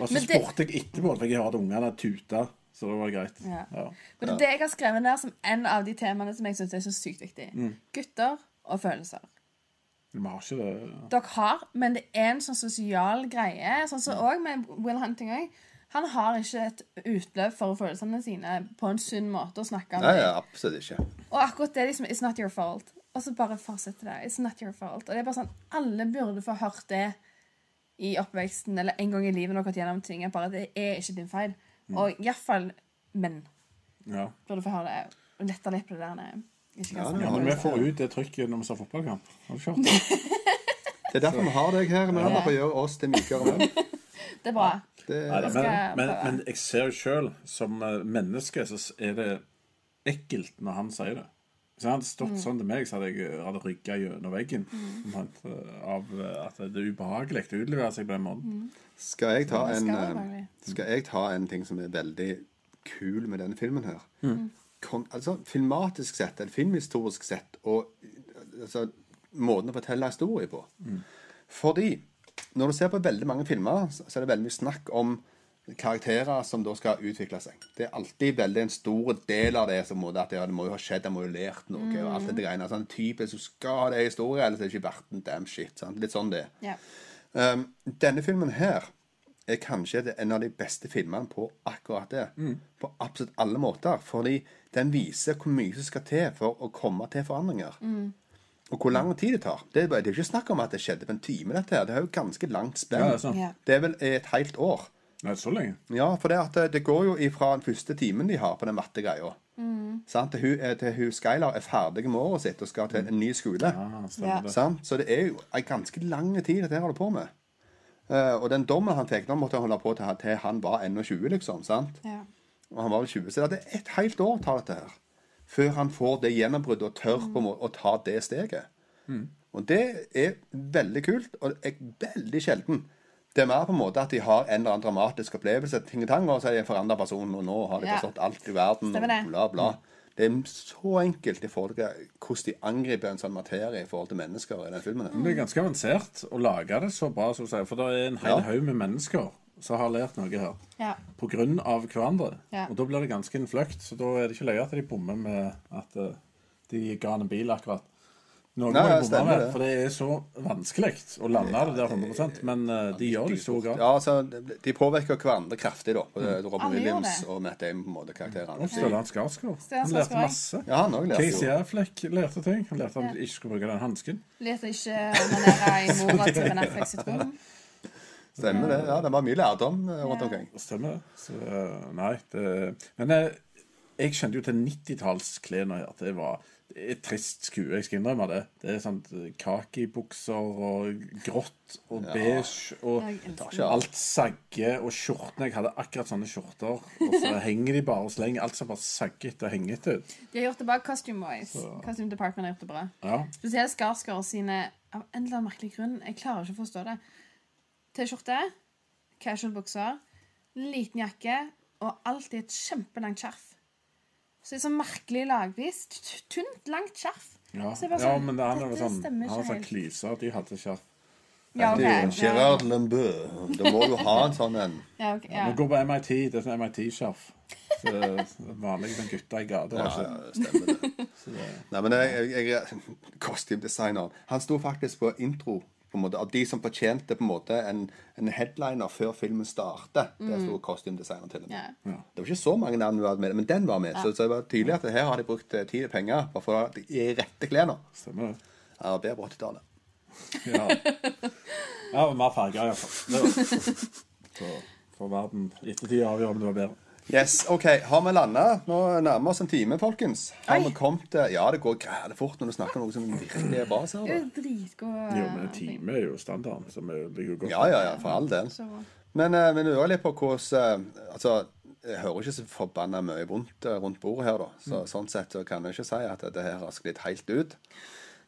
S5: Og så
S7: Men det-
S5: spurte jeg etterpå, for jeg hørte ungene tuta. Så det var greit.
S7: Ja.
S5: Ja.
S7: Men det er det jeg har skrevet ned som en av de temaene som jeg syns er så sykt viktig. Gutter og følelser.
S5: Vi har ikke det
S7: Dere har, men det er en sånn sosial greie. Sånn som òg med Will Hunting òg. Han har ikke et utløp for følelsene sine på en sunn måte å snakke om.
S6: Nei,
S7: det.
S6: ja, absolutt ikke.
S7: Og akkurat det liksom It's not your fault. Og så bare fortsetter det. It's not your fault. Og det er bare sånn Alle burde få hørt det i oppveksten eller en gang i livet når dere har gått gjennom ting. at Bare det er ikke din feil. Og iallfall menn
S5: Ja.
S7: burde få høre det. Og lette litt på det der. nei, Ikke
S6: Ja,
S7: kan snakke
S5: Ja,
S7: om
S5: men
S7: det.
S5: vi får ut det trykket når vi ser fotballkamp. Har du ikke hørt det?
S6: Det er derfor vi har deg her. Vi har for å gjøre oss til mykere menn.
S7: Det er bra.
S6: Det-
S5: Neida, men,
S7: skal
S5: men,
S7: prøve.
S5: men jeg ser jo sjøl, som eh, menneske, så s- er det ekkelt når han sier det. Så Hvis han hadde
S7: Mm.
S5: stått sånn til meg, så hadde jeg eh, hadde rygga gjennom veggen omtrent, eh, av eh, at det er ubehagelig å utlevere seg på den måten.
S7: Mm.
S6: Skal jeg ta
S7: Det
S6: en
S7: skal være Mm.
S6: eh,
S7: bare-
S6: Skal jeg ta en ting som er veldig kul med denne filmen her?
S7: Mm.
S6: Kong, altså, filmatisk sett, eller filmhistorisk sett, og eh, altså, måten å fortelle historier på. Fordi når du ser på veldig mange filmer, så så er det veldig mye snakk om karakterer som da skal utvikle seg. Det er alltid veldig en stor del av det som må, at ja, det må jo ha skjedd, det må jo ha lært noe, og alt
S7: Mm.
S6: dette greiene. Sånn typisk, så skal ha det i historie, ellers er det ikke verdt en damn shit. Sant? Litt sånn det er.
S7: Ja.
S6: Um, denne filmen her er kanskje det- en av de beste filmene på akkurat det.
S5: Mm.
S6: På absolutt alle måter. Fordi den viser hvor mye som skal til for å komme til forandringer. Og hvor lang tid det tar. Det er, bare, det er jo ikke snakk om at det skjedde på en time. dette her. Det er jo ganske langt spenn.
S5: Ja, det er sant.
S7: Ja.
S6: Det er vel et helt år.
S5: Nei, så lenge.
S6: Ja, for det, at eh, det- det går jo ifra den første timen de har på den mattegreia, sant, til hun, eh, til hun Skylar er ferdig med året sitt og skal til en ny skole.
S5: Ja, stemmer det.
S6: Sant? Så det er jo en ganske lang tid dette her holder på med. Eh, og den dommen han fikk, den måtte han holde på til, han- til han var 21, liksom. sant?
S7: Ja.
S6: Og han var vel 20, så det er et helt år tar dette her. Før han får det gjennombruddet og tør på en måte å ta det steget.
S5: Mm.
S6: Og det er veldig kult, og det er veldig sjelden. Det er mer på en måte at de har en eller annen dramatisk opplevelse, ting og tang, og så er de en forandra person, og nå har de
S7: Ja.
S6: forstått alt i verden,
S7: Stemmer det.
S6: og bla, bla. Det er så enkelt i forhold til hvordan de angriper en sånn materie i forhold til mennesker i den filmen. her.
S5: Mm. Det er ganske avansert å lage det så bra, som du sier. For det er en hel
S6: Ja.
S5: haug med mennesker som har lært noe her.
S7: Ja.
S5: På grunn av hverandre.
S7: Ja.
S5: Og da blir det ganske innfløkt. Så da er det ikke løye at de bommer med at eh, de ga han en bil, akkurat. Noen
S6: Nei,
S5: må
S6: ja,
S5: jo bomme
S6: stemmer
S5: med,
S6: det.
S5: for det er så vanskelig å lande det der 100 Men eh, de gjør det i stor grad. Mm.
S6: Ja, altså, De påvirker hverandre kraftig, da. Robin
S7: Alle gjør
S6: Williams
S7: det.
S6: og Matt Damon, på en måte, karakterene.
S5: Og Stellan Skarsgård.
S7: Stellan
S5: Han
S7: Skarsgård,
S5: lærte
S7: ja.
S5: masse.
S6: Ja, han òg
S5: Casey
S6: leste jo.
S5: Affleck lærte ting. Han lærte at han ikke skulle bruke den hansken.
S7: Leter ikke onanere i mora til Ben Affleck sitt rom.
S6: Stemmer det. ja, Det var mye lærdom eh, rundt
S7: Ja.
S6: omkring.
S5: Stemmer det. Så, eh, nei, det Men jeg, jeg kjente jo til 90-tallsklærne her. Det var det er et trist skue, jeg skal innrømme det. Det er sånn kakibukser og grått og beige og
S7: Jeg elsker
S6: Ja.
S5: Alt sagger, og skjortene Jeg hadde akkurat sånne skjorter. Og så henger de bare og slenger. Alt som bare sagger etter, henger etter.
S7: De har gjort det bra costume-wise. Costume Department har gjort det bra.
S5: Ja.
S7: Spesielt Skarsgård sine Av en eller annen merkelig grunn. Jeg klarer ikke å forstå det. T-skjorte, casual bukser, liten jakke og alltid et kjempelangt skjerf. Så det er så merkelig lagvis. T- t- Tynt, langt skjerf.
S5: Ja.
S7: Så det er
S5: ja,
S7: bare sånn,
S5: men han var
S7: dette
S5: sånn, han
S7: stemmer
S5: var
S7: ikke
S5: sånn
S7: helt.
S5: klyser. De hadde ikke
S7: Ja, ok. Ja,
S6: Gerard Lembø. Da må du ha en sånn en.
S7: ja, ok, ja.
S5: Han går på MIT. Det er sånn MIT-skjerf. Så Vanlige sånn gutter i gata. har
S6: Ja,
S5: ikke-
S6: ja, det stemmer det. Nei, men jeg, jeg, jeg Kostymedesigner. Han sto faktisk på intro på en måte, av de som fortjente på en måte en, en headliner før filmen startet. Der sto kostymedesigner til og med.
S7: Mm. Ja.
S6: Det var ikke så mange navn vi hadde med, men den var med. Så, så det var tydelig at her har de brukt eh, tid og penger bare for å ha de- i rette klærne.
S5: Stemmer det.
S6: Ja, bedre på 80-tallet.
S5: Ja. ja og mer farger, iallfall. Så får verden i ettertid avgjøre om det var bedre.
S6: Yes, ok, Har vi landa? Nå nærmer vi oss en time, folkens. Har vi kommet til Ja, det går græle fort når du snakker om noe som virkelig er bra. Ser
S7: Det
S6: du.
S7: er dritgod
S5: Jo, men en time er jo standarden. Som er, ligger jo godt.
S6: Ja, ja, ja, for all del.
S7: Så bra.
S6: Men eh, vi lurer litt på hvordan eh, Altså, jeg hører ikke så forbanna mye vondt eh, rundt bordet her, da. Så
S7: Mm.
S6: sånn sett så kan jeg ikke si at det her har sklidd helt ut.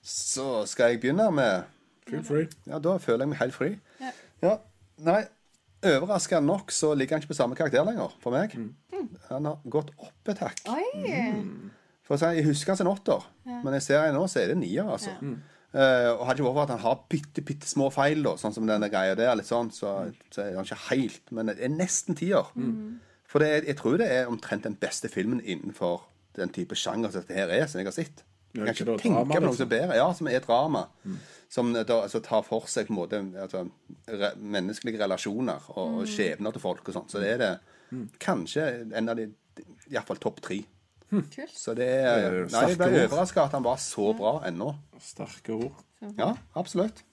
S6: Så skal jeg begynne med
S5: Feel free.
S6: Ja, da føler jeg meg helt fri.
S7: Ja.
S6: Ja, Nei, overraskende nok så ligger han ikke på samme karakter lenger for meg. Han har gått opp et hakk.
S7: Mm. Oi!
S5: Mm.
S6: For å si, Jeg husker han som en åtter, men jeg ser han nå, så er det en nier. altså. Eh, og Hadde det ikke vært for at han har bitte, bitte små feil, da, sånn som denne greia der, litt sånn, så, så er han ikke helt Men det er nesten tier. For det, er- jeg tror det er omtrent den beste filmen innenfor den type sjanger som dette her er, som jeg har sett.
S5: Ja,
S6: Jeg
S5: ikke
S6: kan ikke
S5: det
S6: tenke
S5: drama,
S6: på noe
S5: liksom. Mm.
S6: som er bedre. Ja, som er drama. Som da, altså, tar for seg på en måte altså, re menneskelige relasjoner og, og skjebner til folk og sånn. Så det er det
S5: Mm.
S6: kanskje en av de Iallfall topp tre.
S7: Kult.
S6: Så det er,
S5: Det er jo
S6: Nei, jeg ble
S5: sterke ord.
S6: overraska at han var så bra ennå.
S5: Sterke ord.
S6: Ja, absolutt.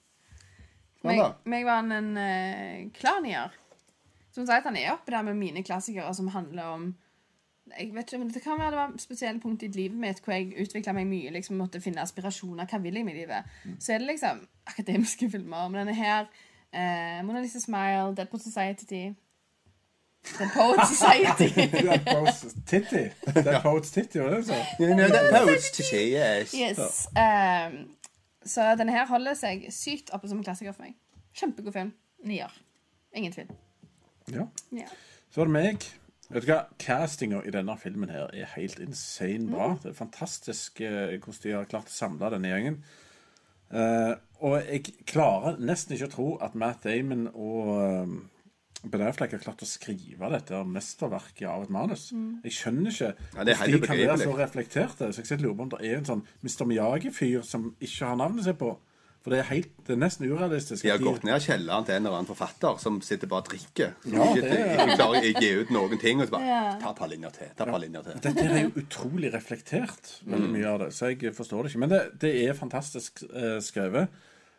S6: Men
S7: Meg,
S6: da?
S7: meg var han en uh, klanier. Som sagt, han er oppe der med mine klassikere som handler om jeg vet ikke, men Det kan være det var et spesielt punkt i livet mitt hvor jeg utvikla meg mye. liksom Måtte finne aspirasjoner. Hva vil jeg med livet? Så er det liksom akademiske filmer. Men denne her eh, Mona Lisa Smile, Deadpool Society The Poet Society.
S5: Det er Poets Titty. Det er Poets Titty, var det du sa?
S6: You know that poets to say yes.
S7: Yes. ehm, så denne her holder seg sykt oppe som en klassiker for meg. Kjempegod film. Nier. Ingen tvil.
S5: Ja.
S7: Ja.
S5: Så var det meg. Vet du hva? Castinga i denne filmen her er helt insane bra. Det er fantastisk eh, hvordan de har klart å samle denne gjengen. Eh, og jeg klarer nesten ikke å tro at Matt Damon og eh, Ben Affleck har klart å skrive dette her mesterverket av et manus. Jeg skjønner ikke
S6: Ja, det er
S5: hvordan
S6: helt
S5: de kan være
S6: ubegripelig.
S5: så reflekterte. Så jeg sitter og lurer på om det er en sånn Mr. Miyagi-fyr som ikke har navnet sitt på. For det er, helt, det er nesten urealistisk.
S6: De har
S5: at
S6: gått ned i kjelleren til en eller annen forfatter som sitter bare og drikker. Som
S5: Ja,
S6: ikke,
S5: det er-
S6: ikke klarer å gi ut noen ting. Og så bare Ta et par linjer til. Ta et par linjer til.
S5: Dette er jo utrolig reflektert, veldig
S6: Mm.
S5: mye av det, så jeg forstår det ikke. Men det, det er fantastisk eh, skrevet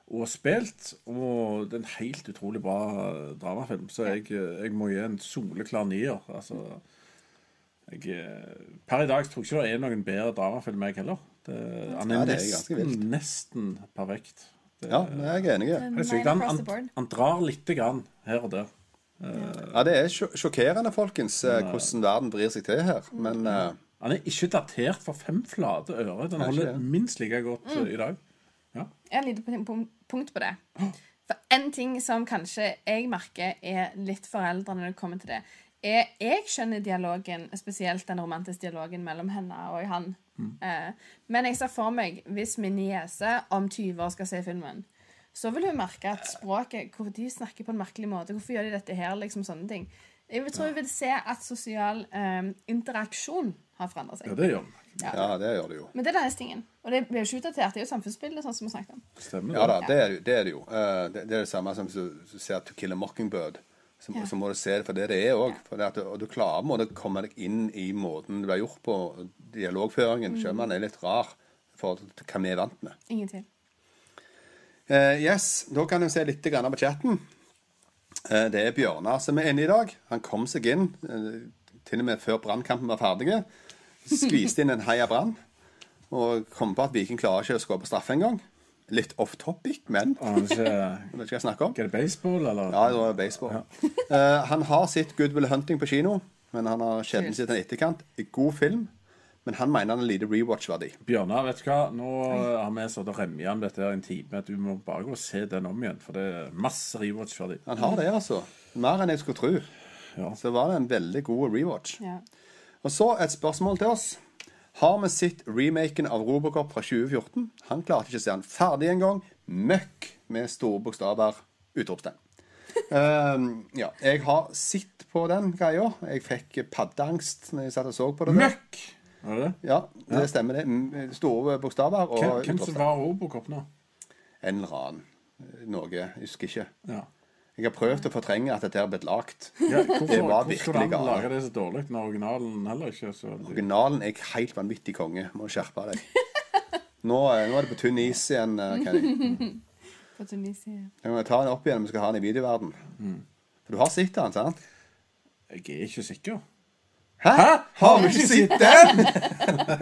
S5: og spilt, og det er en helt utrolig bra eh, dramafilm. Så jeg, eh, jeg må gi en soleklar nier. Altså, jeg, eh, per i dag tror jeg ikke det er noen bedre dramafilm, jeg heller. Det, han er,
S6: Ja, det er ganske
S5: nesten,
S6: vilt. Mm.
S5: nesten perfekt. Det,
S6: Ja, det er jeg enig i.
S5: jeg synes
S7: Mine
S5: ikke han,
S7: across the
S5: han,
S7: board.
S5: han drar lite grann her og der.
S6: Ja, det er sjo- sjokkerende, folkens, eh, hvordan verden vrir seg til her. Men eh,
S5: Han er ikke datert for fem flate øre. Den
S6: ikke
S5: holder
S6: det. Mm.
S5: minst like godt eh, i dag.
S7: Jeg har et lite pun- pun- punkt på det. For en ting som kanskje jeg merker er litt foreldre når det kommer til det, er jeg skjønner dialogen, spesielt den romantiske dialogen mellom henne og han.
S5: Mm.
S7: Eh, men jeg ser for meg, hvis min niese om 20 år skal se filmen, så vil hun merke at språket Hvorfor de snakker på en merkelig måte? Hvorfor gjør de dette her? Liksom sånne ting. Jeg vil- tror hun vil se at sosial eh, interaksjon har forandret seg.
S5: Ja, det gjør den.
S6: ja, det gjør det jo.
S7: Men det er denne tingen. Og det blir jo ikke utdatert. Det er jo samfunnsbildet, sånn som vi snakket om.
S5: Stemmer
S6: Ja
S5: det.
S6: da, det er det, jo- det, er det jo. Eh, det, det er det samme som hvis du hvis du ser To Kill a Mockingbird. Så,
S7: Ja.
S6: så må du se det for det det er òg. Og du klarer på en måte å komme deg inn i måten det ble gjort på. og Dialogføringen. Selv om den er litt rar for hva vi er vant med.
S7: Ingen tvil.
S6: Eh, yes, Da kan du se litt grann på chatten. Eh, det er Bjørnar som er inne i dag. Han kom seg inn eh, til og med før brannkampen var ferdig. Skviste inn en heia brann. Og kom på at Viking klarer ikke å skåre på straffe engang. Litt off topic, men jeg
S5: Aner ikke
S6: vet ikke hva jeg snakker om.
S5: Er det baseball, eller?
S6: Ja, det var baseball. Eh, han har sett Goodwill Hunting på kino, men han har sjelden sett den i etterkant. God film, men han mener han har lite rewatch-verdi.
S5: Bjørnar, vet du hva? Nå eh, har vi satt og remja om dette her i en time. Du må bare gå og se den om igjen, for det er masse rewatch verdi.
S6: Han har det, altså. Mer enn jeg skulle tro.
S5: Ja.
S6: Så var det en veldig god rewatch.
S7: Ja.
S6: Og så et spørsmål til oss. Har vi sett remaken av Robocop fra 2014? Han klarte ikke å se den ferdig engang. Møkk med store bokstaver. Utropstegn. Ehm, ja. Jeg har sett på den greia. Jeg fikk paddeangst når jeg satt og så på det. der.
S5: Møkk! Var det det?
S6: Ja, det stemmer det. M- Store bokstaver og
S5: Hvem, hvem som
S6: utropstegn.
S5: var Robocop nå?
S6: En eller annen. Noe. Jeg husker ikke.
S5: Ja.
S6: Jeg har prøvd å fortrenge at dette er blitt lagt.
S5: Ja, hvorfor,
S6: Det var
S5: hvorfor skulle
S6: virkelig
S5: han lage
S6: gale.
S5: det så dårlig når originalen heller ikke er så
S6: Originalen er helt vanvittig konge. Må skjerpe deg. Nå, eh, nå er det på tynn is igjen, eh, Kenny.
S7: På Tunisia.
S6: Jeg må ta den opp igjen, vi skal ha den i videoverden. For du har sett den, sant?
S5: Jeg er ikke sikker.
S6: Hæ? Har vi ikke sett den?!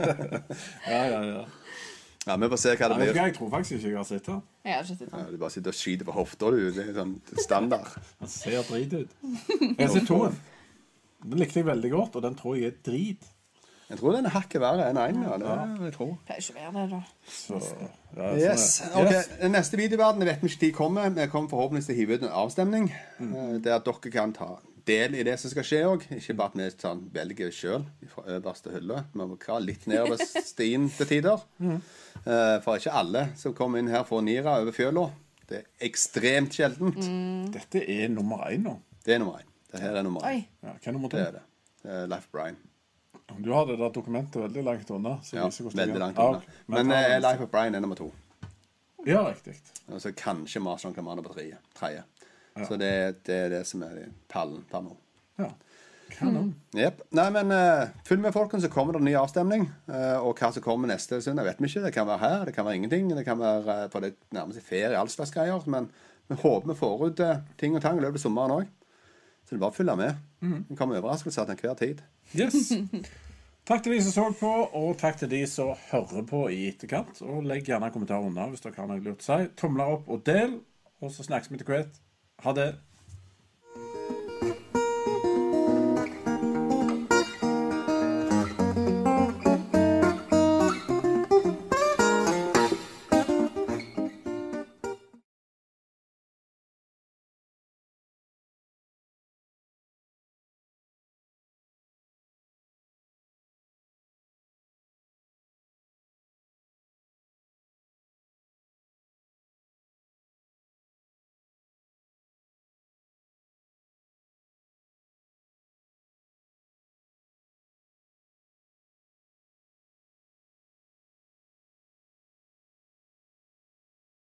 S5: Ja, ja, ja.
S6: Ja, Vi får se hva det
S5: Nei, vet du
S6: blir.
S5: hva? Jeg tror faktisk ikke jeg har sett den.
S7: Jeg har ikke sett
S6: Ja,
S7: den.
S6: Du bare sitter og skyter på hofta, du. Det er sånn standard.
S5: Den ser drit ut. Jeg har sett toen. Den likte jeg veldig godt, og den tror jeg er drit.
S6: Jeg tror den er hakket verre enn én. Ja, er det vil jeg tro.
S7: Pleier ikke å være det, da.
S5: Så, ja, sånn er det.
S6: Yes, ok, Den Neste videoverden jeg vet vi ikke tid kommer. Vi kommer forhåpentligvis til å hive ut en avstemning. eh, Der dere kan ta del i det som skal skje òg. Ikke bare at vi sånn, velger sjøl fra øverste hylle. Vi må ha litt nedover stien til tider. Eh, For ikke alle som kommer inn her, får nira over fjøla. Det er ekstremt sjeldent.
S5: Dette er nummer én nå.
S6: Det er nummer én. Det her er nummer
S7: Oi.
S6: én.
S5: Ja, hva er nummer to?
S6: Det er det. det er Life Brian.
S5: Du har det der dokumentet veldig langt unna. som
S6: Ja,
S5: viser hvordan det
S6: veldig
S5: går.
S6: langt
S5: Ja,
S6: unna. Men
S5: ta
S6: eh,
S5: den.
S6: Life of Brian er nummer to.
S5: Ja, riktig.
S6: Og så kanskje Marston kan være nummer tre. tredje. Så det, det er det som er pallen per nå.
S5: Ja. Kanon.
S6: Jep. Nei, men eh, følg med, folkens, så kommer det en ny avstemning. Eh, og hva som kommer neste søndag, vet vi ikke. Det kan være her, det kan være ingenting. Det kan være uh, på det nærmeste ferie, all slags greier. Men vi håper vi får ut eh, ting og tang i løpet av sommeren òg. Så det er bare å følge med. Det kommer overraskelser til enhver tid.
S5: Yes. Takk til de som så på, og takk til de som hører på i etterkant. Og legg gjerne en kommentar under hvis dere har noe lurt å si. Tomler opp og del, og så snakkes vi til hvert. Ha det.